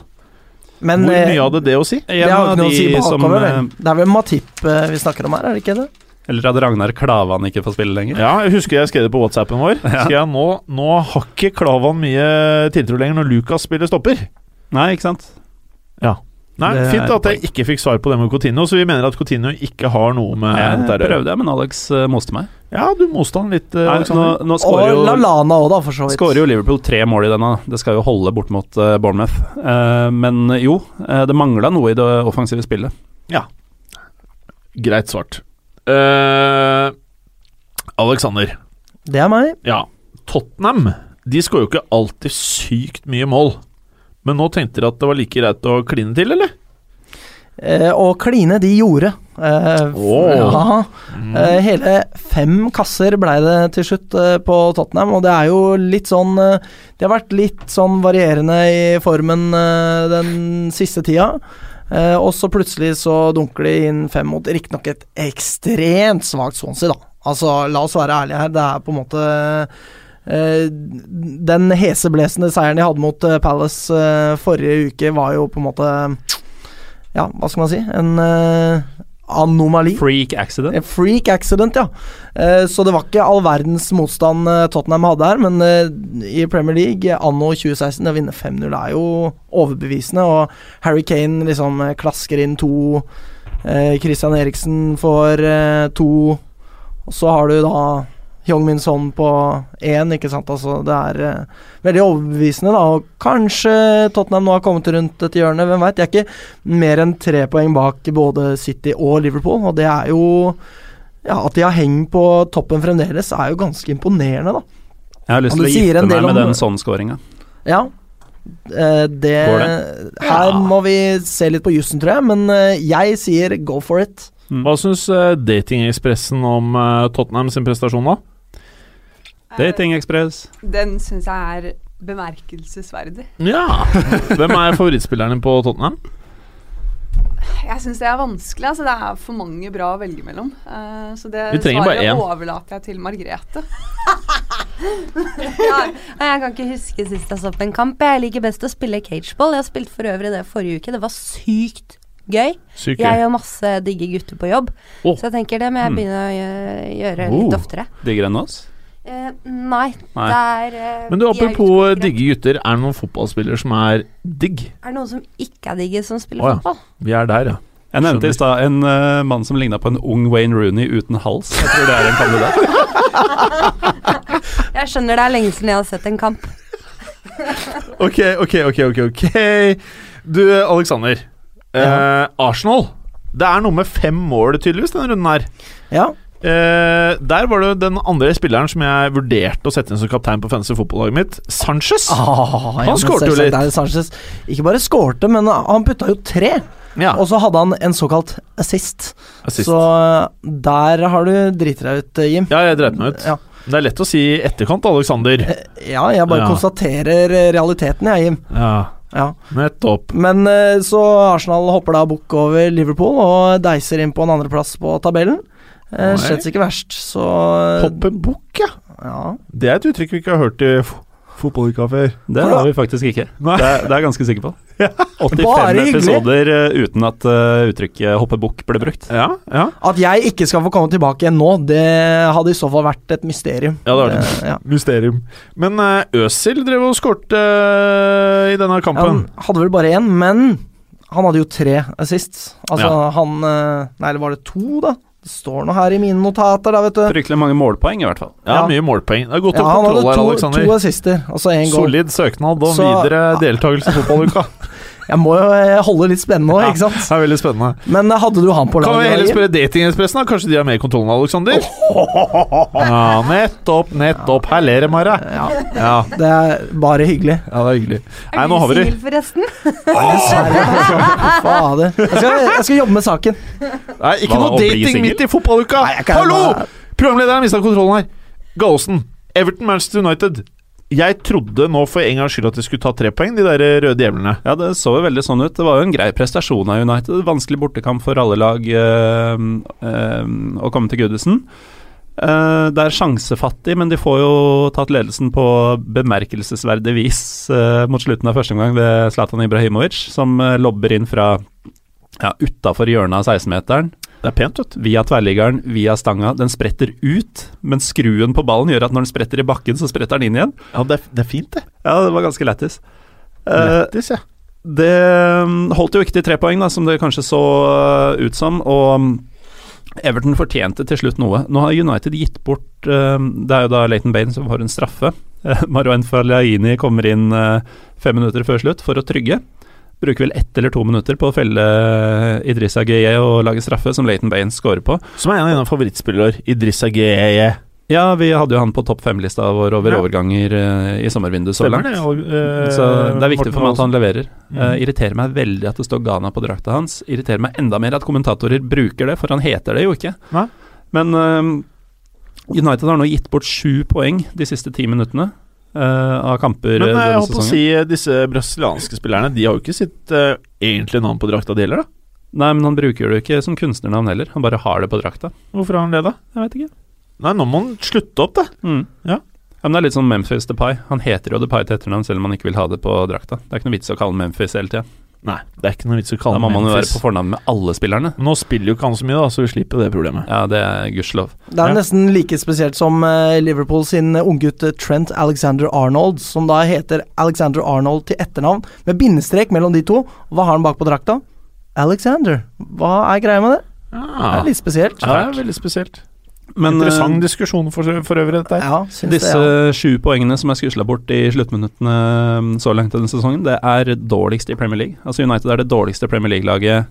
D: Men
C: Hvor
D: eh,
C: mye hadde det å si?
D: det har jo ikke noe å si
E: de som,
D: bakover,
E: eh,
D: vel. Det er vel Matip eh, vi snakker om her, er det ikke det?
E: Eller at Ragnar Klavan ikke får spille lenger.
C: Ja, jeg husker jeg skrev det på WhatsAppen vår. Skrev jeg nå, nå har ikke Klavan mye tiltro lenger når Lucas spiller stopper.
E: Nei, ikke sant?
C: Nei,
E: Det er
C: Fint at jeg ikke fikk svar på det med Coutinho, så vi mener at Coutinho ikke har noe med
E: Jeg
C: dette å gjøre.
E: Eh, prøvde, men Alex eh, moste meg.
C: Ja, du moste han litt, eh,
E: Nei, nå
C: Alexander.
E: nå
D: Og
E: skårer jo,
D: Lallana òg, da, for så vidt.
E: skårer jo Liverpool tre mål i denne. Det skal jo holde bort mot eh, Bournemouth. Eh, men jo, eh, det mangla noe i det offensive spillet.
C: Greit svart. Eh, Alexander.
D: Det er meg.
C: Ja, Tottenham De skårer jo ikke alltid sykt mye mål. Men nå tenkte dere at det var like greit å kline til, eller?
D: Eh, og kline de gjorde. Eh,
C: Åh.
D: ja.
F: Mm.
C: Mm.
D: Eh, hele fem kasser ble det til slutt eh, på Tottenham, og det er jo litt sånn eh, Det har vært litt sånn varierende i formen eh, den siste tida. Eh, og så plutselig så dunker de inn fem mot riktignok et ekstremt svakt Swansea, da. Altså, la oss være ærlige her, det er på en måte eh, Den heseblesende seieren de hadde mot eh, Palace eh, forrige uke, var jo på en måte Ja, hva skal man si? En eh, anomali.
E: Freak accident.
D: En freak accident, ja. Eh, Så det var ikke all verdens motstand eh, Tottenham hadde her, men eh, i Premier League eh, anno 2016, det å vinne 5-0 er jo overbevisende, og Harry Kane liksom eh, klasker inn to eh, Christian Eriksen får eh, to, og så har du da Young-Min Son på én, ikke sant. Altså, det er eh, veldig overbevisende, da. Og kanskje Tottenham nå har kommet rundt et hjørne, hvem veit. De er ikke mer enn tre poeng bak både City og Liverpool, og det er jo ja, At de har heng på toppen fremdeles, er jo ganske imponerende, da.
E: Jeg har lyst til
D: Og
E: å
D: det sier
E: gifte
D: en
E: meg
D: del
E: med
D: om-
E: den sånn sånn-skåringa.
D: Ja. Eh, det,
E: Går
D: Her
C: Ja.
D: må vi se litt på jussen, tror jeg, men eh, jeg sier go for it.
C: Hva syns eh, Datingekspressen om eh, Tottenham sin prestasjon, da?
E: Dating Express.
B: Eh, Den syns jeg er bemerkelsesverdig.
C: Ja. Hvem er favorittspillerne på Tottenham?
B: Jeg syns det er vanskelig. Altså, det er for mange bra å velge mellom. Eh, så det
C: Vi trenger bare
B: svaret
C: én.
B: overlater jeg til Margrethe.
F: Ja, og jeg kan ikke huske sist jeg så på en kamp. Jeg liker best å spille cageball. Jeg spilte for øvrig det forrige uke. Det var sykt gøy.
C: Syke.
F: Jeg gjør masse digge gutter på jobb,
C: Åh. Mm.
F: så jeg tenker det må jeg
E: Hmm.
F: begynne å gjø- gjøre
C: Oh.
F: litt oftere.
E: Diggere enn oss?
F: Eh, nei,
E: Nei.
F: det er eh,
C: Men du,
F: de er
C: apropos
F: ute på konkurran-
C: digge gutter, er det noen fotballspillere som er digg?
F: Er det noen som ikke er digge, som spiller
C: Å, ja.
F: fotball?
C: Vi er der, ja.
E: Jeg nevnte
C: Skjønner.
E: i stad en eh, mann som ligna på en ung Wayne Rooney uten hals. Jeg tror det er en kandidat.
F: Jeg skjønner det er lenge siden jeg har sett en kamp.
C: Ok, ok, ok, ok. ok Du, Alexander. Eh, Arsenal. Det er noe med fem mål, tydeligvis, denne runden her.
D: Ja.
C: Eh, der var det den andre spilleren som jeg vurderte å sette inn som kaptein på fantasy fotballaget mitt, Sanchez.
D: Ah, ja,
C: Han
D: men
C: skårte jo
D: selvsagt
C: litt.
D: er det Sanchez. Ikke bare skårte, men eh, han putta jo tre.
C: Ja,
D: Og så hadde han en såkalt assist.
C: assist.
D: Så eh, der har du driti deg ut, Jim.
C: Ja, jeg dreit meg ut.
D: Ja. Eh.
C: Det er lett å si i etterkant, Alexander.
D: Ja, jeg bare
C: Ja.
D: konstaterer eh, realiteten, jeg, Jim.
C: Ja,
D: Ja.
C: nettopp.
D: Men eh, så Arsenal hopper da bukk over Liverpool og deiser inn på en andreplass på tabellen. Eh,
C: Nei.
D: Slett ikke verst, så eh,
C: Hoppe bukk, ja.
D: ja.
C: Det er et uttrykk vi ikke har hørt i fo- fotballuka før.
E: Det har vi faktisk ikke.
C: Nei.
E: Det er, det er jeg ganske sikker på. 85
D: Bare hyggelig.
E: episoder eh, uten at eh, uttrykket 'hoppe bukk' ble brukt.
C: Ja, ja.
D: At jeg ikke skal få komme tilbake igjen nå, det hadde i så fall vært et mysterium. Eh,
C: Ja, det hadde vært
D: ja.
C: Mysterium. Men eh, Øsil drev og skårte eh, i denne
D: Han
C: kampen.
D: hadde vel bare én, men han hadde jo tre assist. Altså han eh, Nei, eller var det to, da? Det står noe her i mine notater, da, vet du.
E: Fryktelig mange målpoeng, i hvert fall.
C: Ja,
D: ja.
C: mye målpoeng. Det er godt
D: Ja,
C: å
D: han hadde
C: kontroll her,
D: to,
C: Alexander.
D: to assister, og så én goal.
C: Solid søknad om
D: Så-
C: videre deltakelse i fotballuka.
D: Jeg må jo eh, holde litt spennende nå, ikke
C: Det
D: sant?
C: er veldig spennende.
D: Men eh, hadde du han på
C: Kan vi heller
D: laget? da,
C: spørre Datingespressen, da? Kanskje de har mer kontroll enn Alexander? Ja, nettopp, nettopp. Her ler det, Mare.
D: Jim? Ja,
C: Ja,
D: det er bare hyggelig.
C: ja, det er hyggelig. Nei,
F: Er
C: nå har
F: du
C: vi de.
F: singel, forresten?
D: Dessverre. Fader. Jeg skal, jeg skal jobbe med saken.
C: Nei, ikke
E: Hva da,
C: noe
E: å bli
C: dating
E: singel?
C: midt i fotballuka!
D: Nei, jeg kan-
C: Hallo! Programlederen mista kontrollen her. Gallosen. Everton, Manchester United. Jeg trodde nå for en gangs skyld at de skulle ta tre poeng, de der røde djevlene.
E: Ja, det så jo veldig sånn ut. Det var jo en grei prestasjon av United. Vanskelig bortekamp for alle lag eh, eh, å komme til Goodison. Eh, det er sjansefattig, men de får jo tatt ledelsen på bemerkelsesverdig vis eh, mot slutten av første omgang ved Zlatan Ibrahimovic, som eh, lobber inn fra ja, utafor hjørnet av 16-meteren.
C: Det er pent, vet du.
E: Via tverrliggeren, via stanga. Den spretter ut, men skruen på ballen gjør at når den spretter i bakken, så spretter den inn igjen.
C: Ja, det er, det er fint, det.
E: Ja, det var ganske lættis. Eh,
C: Lettis, ja.
E: det mm, holdt jo ikke til tre poeng, da, som det kanskje så eh, ut som. Og mm, Everton fortjente til slutt noe. Nå har United gitt bort eh, Det er jo da Leighton Baines som får en straffe. Marwan Fellaini kommer inn eh, fem minutter før slutt for å trygge. Bruker vel ett eller to minutter på å felle uh, Idrissa Gueye og lage straffe, som Leighton Baines scorer på.
C: Som er en av dine favorittspillere, Idrissa Geye.
E: Ja, vi hadde jo han på topp fem-lista vår over
C: Ja.
E: overganger eh, i sommervinduet så
C: Stemmer
E: langt.
C: det. og, eh,
E: Så det er viktig
C: Morten
E: for meg at han leverer.
C: Mm.
E: Eh, irriterer meg veldig at det står Ghana på drakta hans. Irriterer meg enda mer at kommentatorer bruker det, for han heter det jo ikke.
C: Nei.
E: Men eh, United har nå gitt bort sju poeng de siste ti minuttene eh, av kamper
C: Men
E: eh,
C: eh, jeg
E: denne
C: holdt på å
E: sesongen.
C: si, eh, disse brasilianske spillerne De har jo ikke sitt eh, egentlige navn på drakta, de heller, da?
E: Nei, men han bruker det ikke som kunstnernavn heller. Han bare har det på drakta.
C: Hvorfor har han det, da?
E: Jeg vet ikke.
C: Nei, nå må han slutte opp, da.
E: Mm.
C: Ja.
E: Ja, men det er litt sånn Memphis DePay. Han heter jo DePay til etternavn selv om han ikke vil ha det på drakta. Det er ikke noe vits å kalle han Memphis hele tida.
C: Nei, det er ikke noe vits å
E: Da
C: kalle
E: må
C: ham
E: man jo være
C: Memphis.
E: på fornavn med alle spillerne.
C: Nå spiller jo ikke han så mye, da, så vi slipper det problemet.
E: Ja, det er gudskjelov.
D: Det er
C: Ja.
D: nesten like spesielt som eh, Liverpool sin eh, unggutt eh, Trent Alexander Arnold, som da heter Alexander Arnold til etternavn, med bindestrek mellom de to. Hva har han bak på drakta? Alexander. Hva er greia med det? Det
C: Ah.
D: er litt spesielt.
C: Ja, det er veldig spesielt.
E: Men, eh,
C: Interessant diskusjon for, for øvrig, dette her.
D: Ja, syns det,
E: Disse
D: ja.
E: sju poengene som er skusla bort i sluttminuttene mm, så langt denne sesongen, det er dårligst i Premier League. Altså United er det dårligste Premier League-laget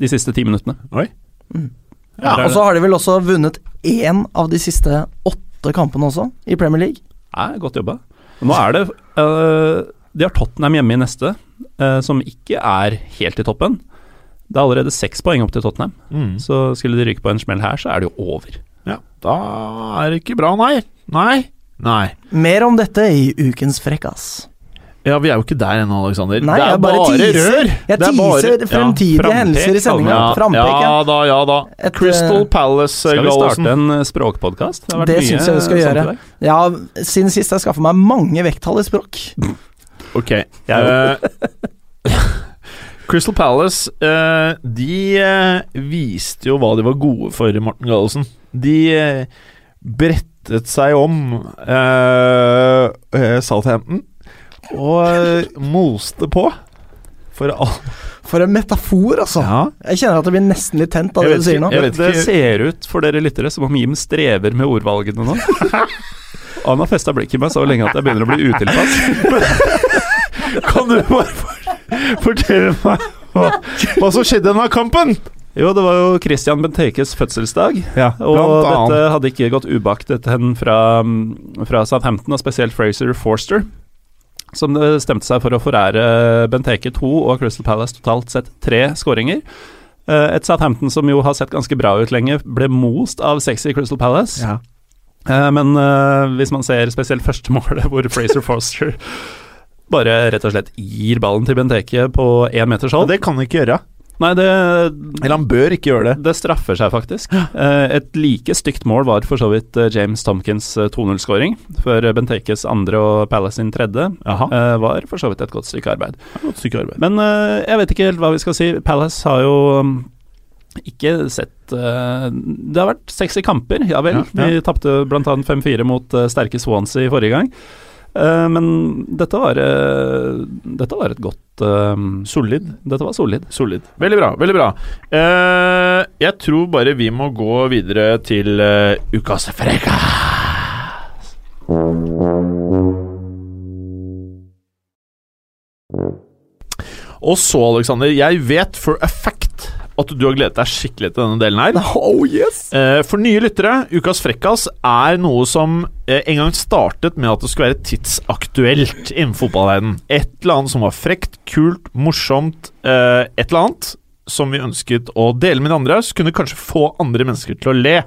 E: de siste ti minuttene.
C: Ja, altså.
D: Og så har de vel også vunnet én av de siste åtte kampene også, i Premier League.
E: Ja, godt jobba. Nå er det øh, De har Tottenham hjemme i neste, øh, som ikke er helt i toppen. Det er allerede seks poeng opp til Tottenham,
C: Mm.
E: så skulle de ryke på en smell her, så er det jo over.
C: ja, da er det ikke bra, nei. Nei. Nei.
D: Mer om dette i ukens Frekkas.
C: Ja, vi er jo ikke der ennå, Aleksander.
D: Nei,
C: det er
D: jeg bare teaser.
C: rør!
D: Jeg
C: Det er
D: teaser fremtidige
C: frampek,
D: hendelser i sendingen.
C: kaller vi det.
D: Frampek,
C: Sånn, ja.
D: ja.
C: da, ja da.
D: Et,
C: Crystal
D: eh,
C: Palace
E: Skal vi
C: Gallosen.
E: starte en eh, språkpodkast? har vært
D: Det
E: mye sånn
D: syns jeg vi skal
E: sånt i
D: gjøre.
E: dag.
D: Ja, siden sist har jeg skaffa meg mange vekttall i språk.
C: Ok. eh, Crystal Palace, eh, de eh, viste jo hva de var gode for, Morten Gallosen. De eh, brettet seg om eh, eh, Southampton og eh, moste på. For all...
D: For en metafor, altså.
C: Ja.
D: Jeg kjenner at jeg blir nesten litt tent av
E: Jeg vet
D: det du sier nå.
E: ikke- jeg vet
C: Det
E: Det ser ut for dere lyttere som om Jim strever med ordvalgene nå. Han har festa blikket i meg så lenge at jeg begynner å bli utilpass.
C: Kan du bare for- fortelle meg hva, hva som skjedde i denne kampen?
E: Jo, det var jo Christian Bentekes fødselsdag,
C: Ja,
E: og dette hadde ikke gått ubaktet hen fra, mm, fra Southampton, og spesielt Fraser Forster, som det stemte seg for å forære Benteke to og Crystal Palace totalt sett tre skåringer. Eh, Et Southampton som jo har sett ganske bra ut lenge, ble most av sexy Crystal Palace.
C: Ja.
E: Eh, Men eh, hvis man ser spesielt første målet, hvor Fraser Forster bare rett og slett gir ballen til Benteke på én meters
C: Og
E: hold
C: det kan han ikke gjøre.
E: Nei, det,
C: Eller han bør ikke gjøre det.
E: det straffer seg faktisk. Eh, Et like stygt mål var for så vidt eh, James Tomkins 2-0-skåring, før Bentekes andre og Palace sin tredje
C: Jaha.
E: eh, var for så vidt et godt stykke arbeid.
C: Det er godt stykke arbeid.
E: Men eh, jeg vet ikke helt hva vi skal si. Palace har jo mm, ikke sett eh, Det har vært sexy kamper, ja vel.
C: Ja, ja.
E: Vi tapte bl.a. 5-4 mot eh, sterke Swansea i forrige gang. Eh, Men dette var, eh, dette var et godt eh,
C: Solid.
E: Dette var solid.
C: Solid. Veldig bra. veldig bra Eh, Jeg tror bare vi må gå videre til eh, ukas freka. Og så, Aleksander, jeg vet for a fact at du har gledet deg skikkelig til denne delen her.
D: Oh yes!
C: Eh, For nye lyttere, Ukas frekkas er noe som eh, en gang startet med at det skulle være tidsaktuelt innen fotballverdenen. Et eller annet som var frekt, kult, morsomt, eh, et eller annet som vi ønsket å dele med de andre, så kunne kanskje få andre mennesker til å le.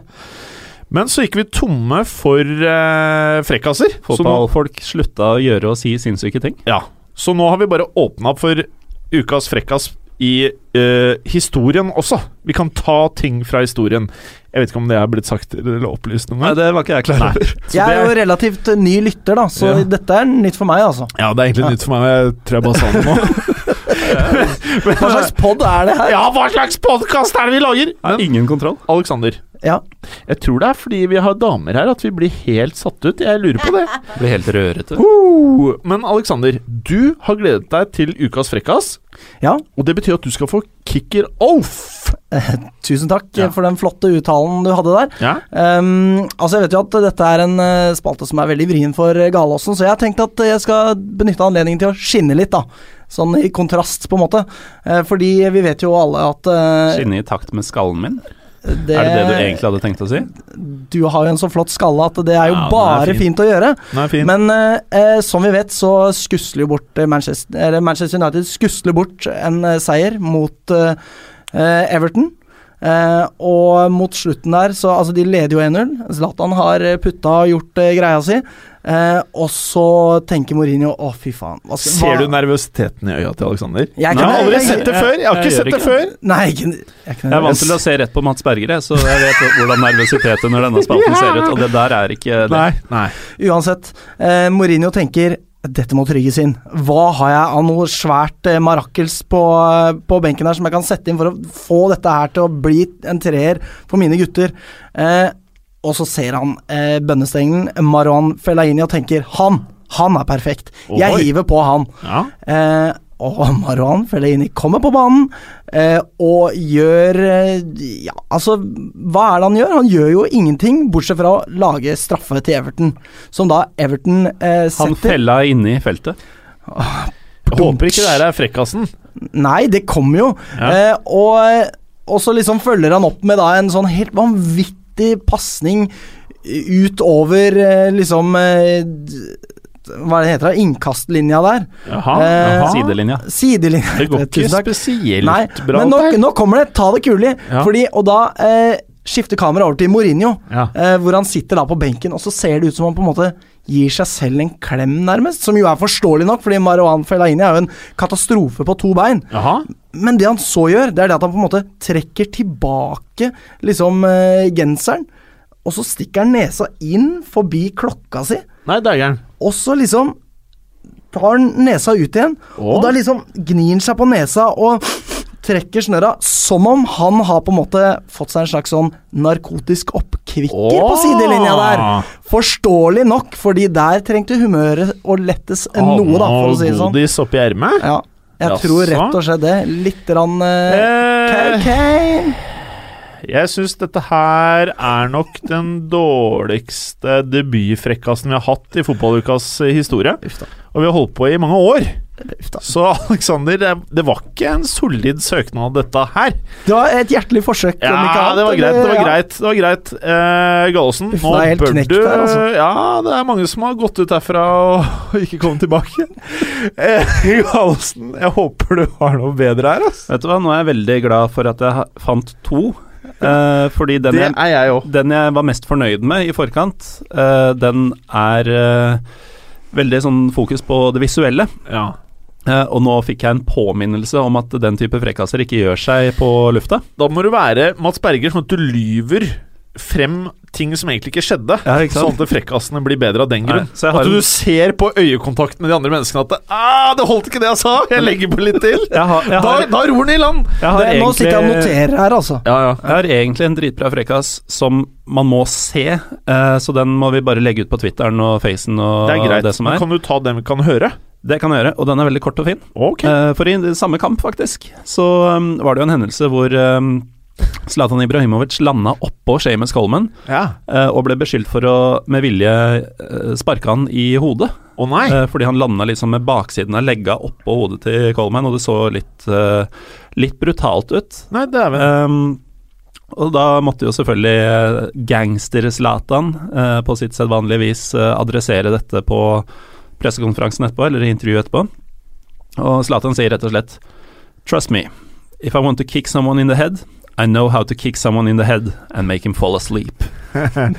C: Men så gikk vi tomme for eh, frekkaser. så nå-
E: Fotballfolk slutta å gjøre og si sinnssyke ting.
C: ja. Så nå har vi bare åpna opp for ukas frekkas i eh, historien også. Vi kan ta ting fra historien. Jeg vet ikke om det er blitt sagt eller opplyst noen
E: Nei,
C: gang.
E: det var ikke jeg klar over.
D: Jeg er jo relativt eh, ny lytter, da, så
C: Ja.
D: dette er nytt for meg, altså.
C: Ja, det er egentlig nytt for meg. Jeg tror jeg bare sa det nå.
D: Hva slags pod er det her?
C: ja, hva slags podkast er det vi lager? Men
E: Ingen kontroll.
C: Aleksander,
D: Ja.
C: jeg tror det er fordi vi har damer her at vi blir helt satt ut. Jeg lurer på det.
E: Blir helt rørete.
C: Uh, men Aleksander, du har gledet deg til ukas frekkas.
D: Ja.
C: Og det betyr at du skal få kicker off.
D: Tusen takk eh,
C: Ja.
D: for den flotte uttalen du hadde der.
C: Ja.
D: Ehm, altså Jeg vet jo at dette er en eh, spalte som er veldig vrien for eh, Galåsen, så jeg har tenkt at eh, jeg skal benytte anledningen til å skinne litt, da. Sånn i kontrast, på en måte. Eh, fordi vi vet jo alle at eh,
E: Skinne i takt med skallen min?
D: det,
E: Er det det du egentlig hadde tenkt å si?
D: Du har jo en så flott skalle at det er jo
E: Ja, den er
D: bare
E: fin.
D: fint å gjøre.
C: Nei, fin.
D: Men eh, eh, som vi vet, så skusler jo bort eh, Manchester, eller Manchester United skusler bort en eh, seier mot eh, eh, Everton. Eh, og mot slutten der, så altså de leder jo 1-0. Zlatan har eh, putta og gjort eh, greia si. Eh, og så tenker Mourinho å, fy faen. hva skal-
C: Ser
D: hva-
C: du nervøsiteten i øya til Aleksander?
D: Jeg kan-
C: jeg har aldri
D: jeg-
C: sett det før! Jeg har
E: jeg
C: ikke
E: gjør
C: sett det
E: ikke
C: før!
D: Nei, ikke, jeg, er ikke
E: Jeg er vant til å
D: nervøs.
E: se rett på Mats Berger, jeg, så jeg vet hvordan nervøsitet under denne spalten ser ut. Og det der er ikke det.
C: nei.
D: Uansett, eh, Mourinho tenker dette må trygges inn. Hva har jeg av noe svært eh, marakkels på, eh, på benken her som jeg kan sette inn for å få dette her til å bli en treer for mine gutter? Eh, og så ser han eh, bønnestengen Marwan Fellaini og tenker han! Han er perfekt. Jeg
C: Oi.
D: hiver på han.
C: Ja.
D: Eh, og Marwan Fellaini kommer på banen eh, og gjør eh, Ja, altså, hva er det han gjør? Han gjør jo ingenting, bortsett fra å lage straffe til Everton, som da Everton
E: Han
D: eh, setter.
E: fella inne i feltet.
C: Jeg håper ikke det her er frekkasen.
D: Nei, det kommer jo.
C: Ja.
D: Eh, og, og så liksom følger han opp med da en sånn helt vanvittig pasning utover eh, liksom eh, d- Hva er det heter det? Innkastlinja der.
C: Jaha,
D: Eh,
C: jaha.
E: Sidelinja.
D: Sidelinja.
C: Det går
D: Tusen
C: ikke
D: takk.
C: spesielt
D: Nei,
C: bra.
D: men nå,
C: dette her.
D: nå kommer det. Ta det kulig.
C: Ja.
D: Fordi, og da eh, skifter kameraet over til Mourinho,
C: Ja.
D: eh, hvor han sitter da på benken, og så ser det ut som han på en måte gir seg selv en klem, nærmest. Som jo er forståelig nok, fordi Marwan Fellaini er jo en katastrofe på to bein.
C: Jaha.
D: Men det han så gjør, det er det at han på en måte trekker tilbake liksom eh, genseren, og så stikker han nesa inn forbi klokka si,
C: Nei, dægeren.
D: og så liksom tar han nesa ut igjen,
C: Åh.
D: og da liksom gnir han seg på nesa og trekker snørra som om han har på en måte fått seg en slags sånn narkotisk oppkvikker på
C: Åh.
D: sidelinja der. Forståelig nok, fordi der trengte humøret å lettes Eh, noe, da, for å si det
C: Og
D: sånn.
C: Godis oppi ermet?
D: Ja, jeg
C: Jaså?
D: tror rett og slett det. Litt rann eh,
C: Eh,
D: Cocaine.
C: jeg syns dette her er nok den dårligste debutfrekkasen vi har hatt i fotballukas eh, historie.
D: Uff da.
C: Og vi har holdt på i mange år.
D: Uff da.
C: Så Aleksander, det, det var ikke en solid søknad, dette her.
D: Det var et hjertelig forsøk. om ikke
C: Ja,
D: annet,
C: det var greit.
D: eller-
C: Det var
D: ja.
C: greit. Det var greit. Eh, Gallosen,
D: Uff,
C: nå
D: det er helt
C: bør
D: knekt
C: du
D: der, altså.
C: Ja, det er mange som har gått ut herfra og, og ikke kommet tilbake. Eh, Gallosen, jeg håper du har noe bedre her, altså. ass.
E: Vet du hva, nå er jeg veldig glad for at jeg ha- fant to. eh, fordi den jeg,
C: er jeg òg.
E: den jeg var mest fornøyd med i forkant, eh, den er eh, veldig sånn fokus på det visuelle.
C: Ja.
E: Eh, og nå fikk jeg en påminnelse om at den type frekkaser ikke gjør seg på lufta.
C: Da må du være Mats Berger, sånn at du lyver frem ting som egentlig ikke skjedde.
E: Ja, ikke
C: Sånn
E: sant?
C: at frekkasene blir bedre av den grunn.
E: Nei, så jeg har
C: at du
E: en-
C: ser på øyekontakten med de andre menneskene at det, ah, 'Det holdt ikke det jeg sa! Jeg legger på litt til!'
E: Jeg har,
C: Da,
E: jeg har,
C: da ror den i land!
E: jeg har
D: Det, nå sitter jeg og
E: egentlig,
D: noterer her, altså.
C: Ja, ja.
E: jeg har egentlig en dritbra frekkas som man må se, eh, så den må vi bare legge ut på Twitteren og Facen og
C: Det er greit.
E: som er.
C: Men kan du ta den vi kan høre?
E: Det kan jeg gjøre, og den er veldig kort og fin.
C: Ok.
E: Eh, For i det samme kamp, faktisk, så um, var det jo en hendelse hvor um, Zlatan Ibrahimovic landa oppå Seamus Coleman
C: ja.
E: eh, og ble beskyldt for å med vilje uh, sparke han i hodet.
C: Å nei!
E: eh, fordi han landa liksom med baksiden av legga oppå hodet til Coleman, og det så litt, eh, litt brutalt ut.
C: Nei, dæven.
E: Um, og da måtte jo selvfølgelig gangster-Zlatan eh, på sitt sedvanlige vis eh, adressere dette på pressekonferansen etterpå, eller i intervjuet etterpå. Og Zlatan sier rett og slett Trust me, if I want to kick someone in the head, I know how to kick someone in the head and make him fall asleep.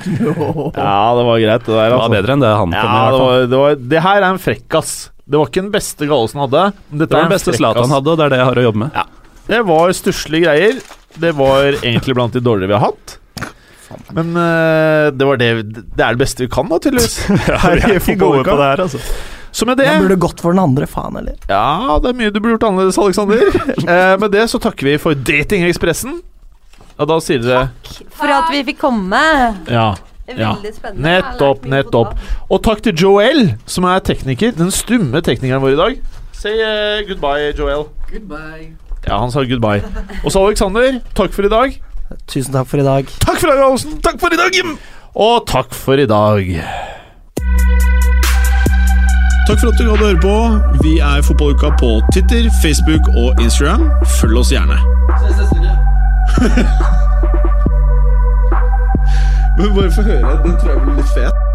C: Ja, det var greit, det der. altså.
E: Det var bedre enn det han kom
C: Ja,
E: med. i hvert
C: det,
E: fall.
C: var, det, var, det her er en frekkas. Det var ikke den beste Gallosen hadde. men Dette
E: Det var
C: er en
E: den beste
C: frekkas.
E: Zlatan hadde, og det er det jeg har å jobbe med.
C: Det var stusslige greier. Det var egentlig blant de dårligere vi har hatt. Men eh, det var det Det er det beste vi kan, da, tydeligvis. Her i fotballuka.
E: her, altså.
C: Så med det
D: Jeg burde gått for den andre, faen eller
C: Ja, det er mye du burde gjort annerledes, Aleksander. eh, med det så takker vi for Datingekspressen. Og da sier dere
F: For at vi fikk komme.
C: Ja. Ja.
F: Veldig spennende. Jeg har lært
C: Nettopp,
F: mye
C: nettopp.
F: fotball.
C: Og takk til Joel, som er tekniker. Den stumme teknikeren vår i dag. Say eh, goodbye, Joel.
B: Goodbye.
C: Ja, han sa goodbye. Og så Alexander, takk for i dag.
D: Tusen takk for i dag.
C: Takk for i dag, Olsen. Takk for i dag, Jim. Og takk for i dag.
A: Takk for at du hadde høre på. Vi er Fotballuka på Twitter, Facebook og Instagram. Følg oss gjerne. Men bare få høre. Den tror jeg blir litt fet.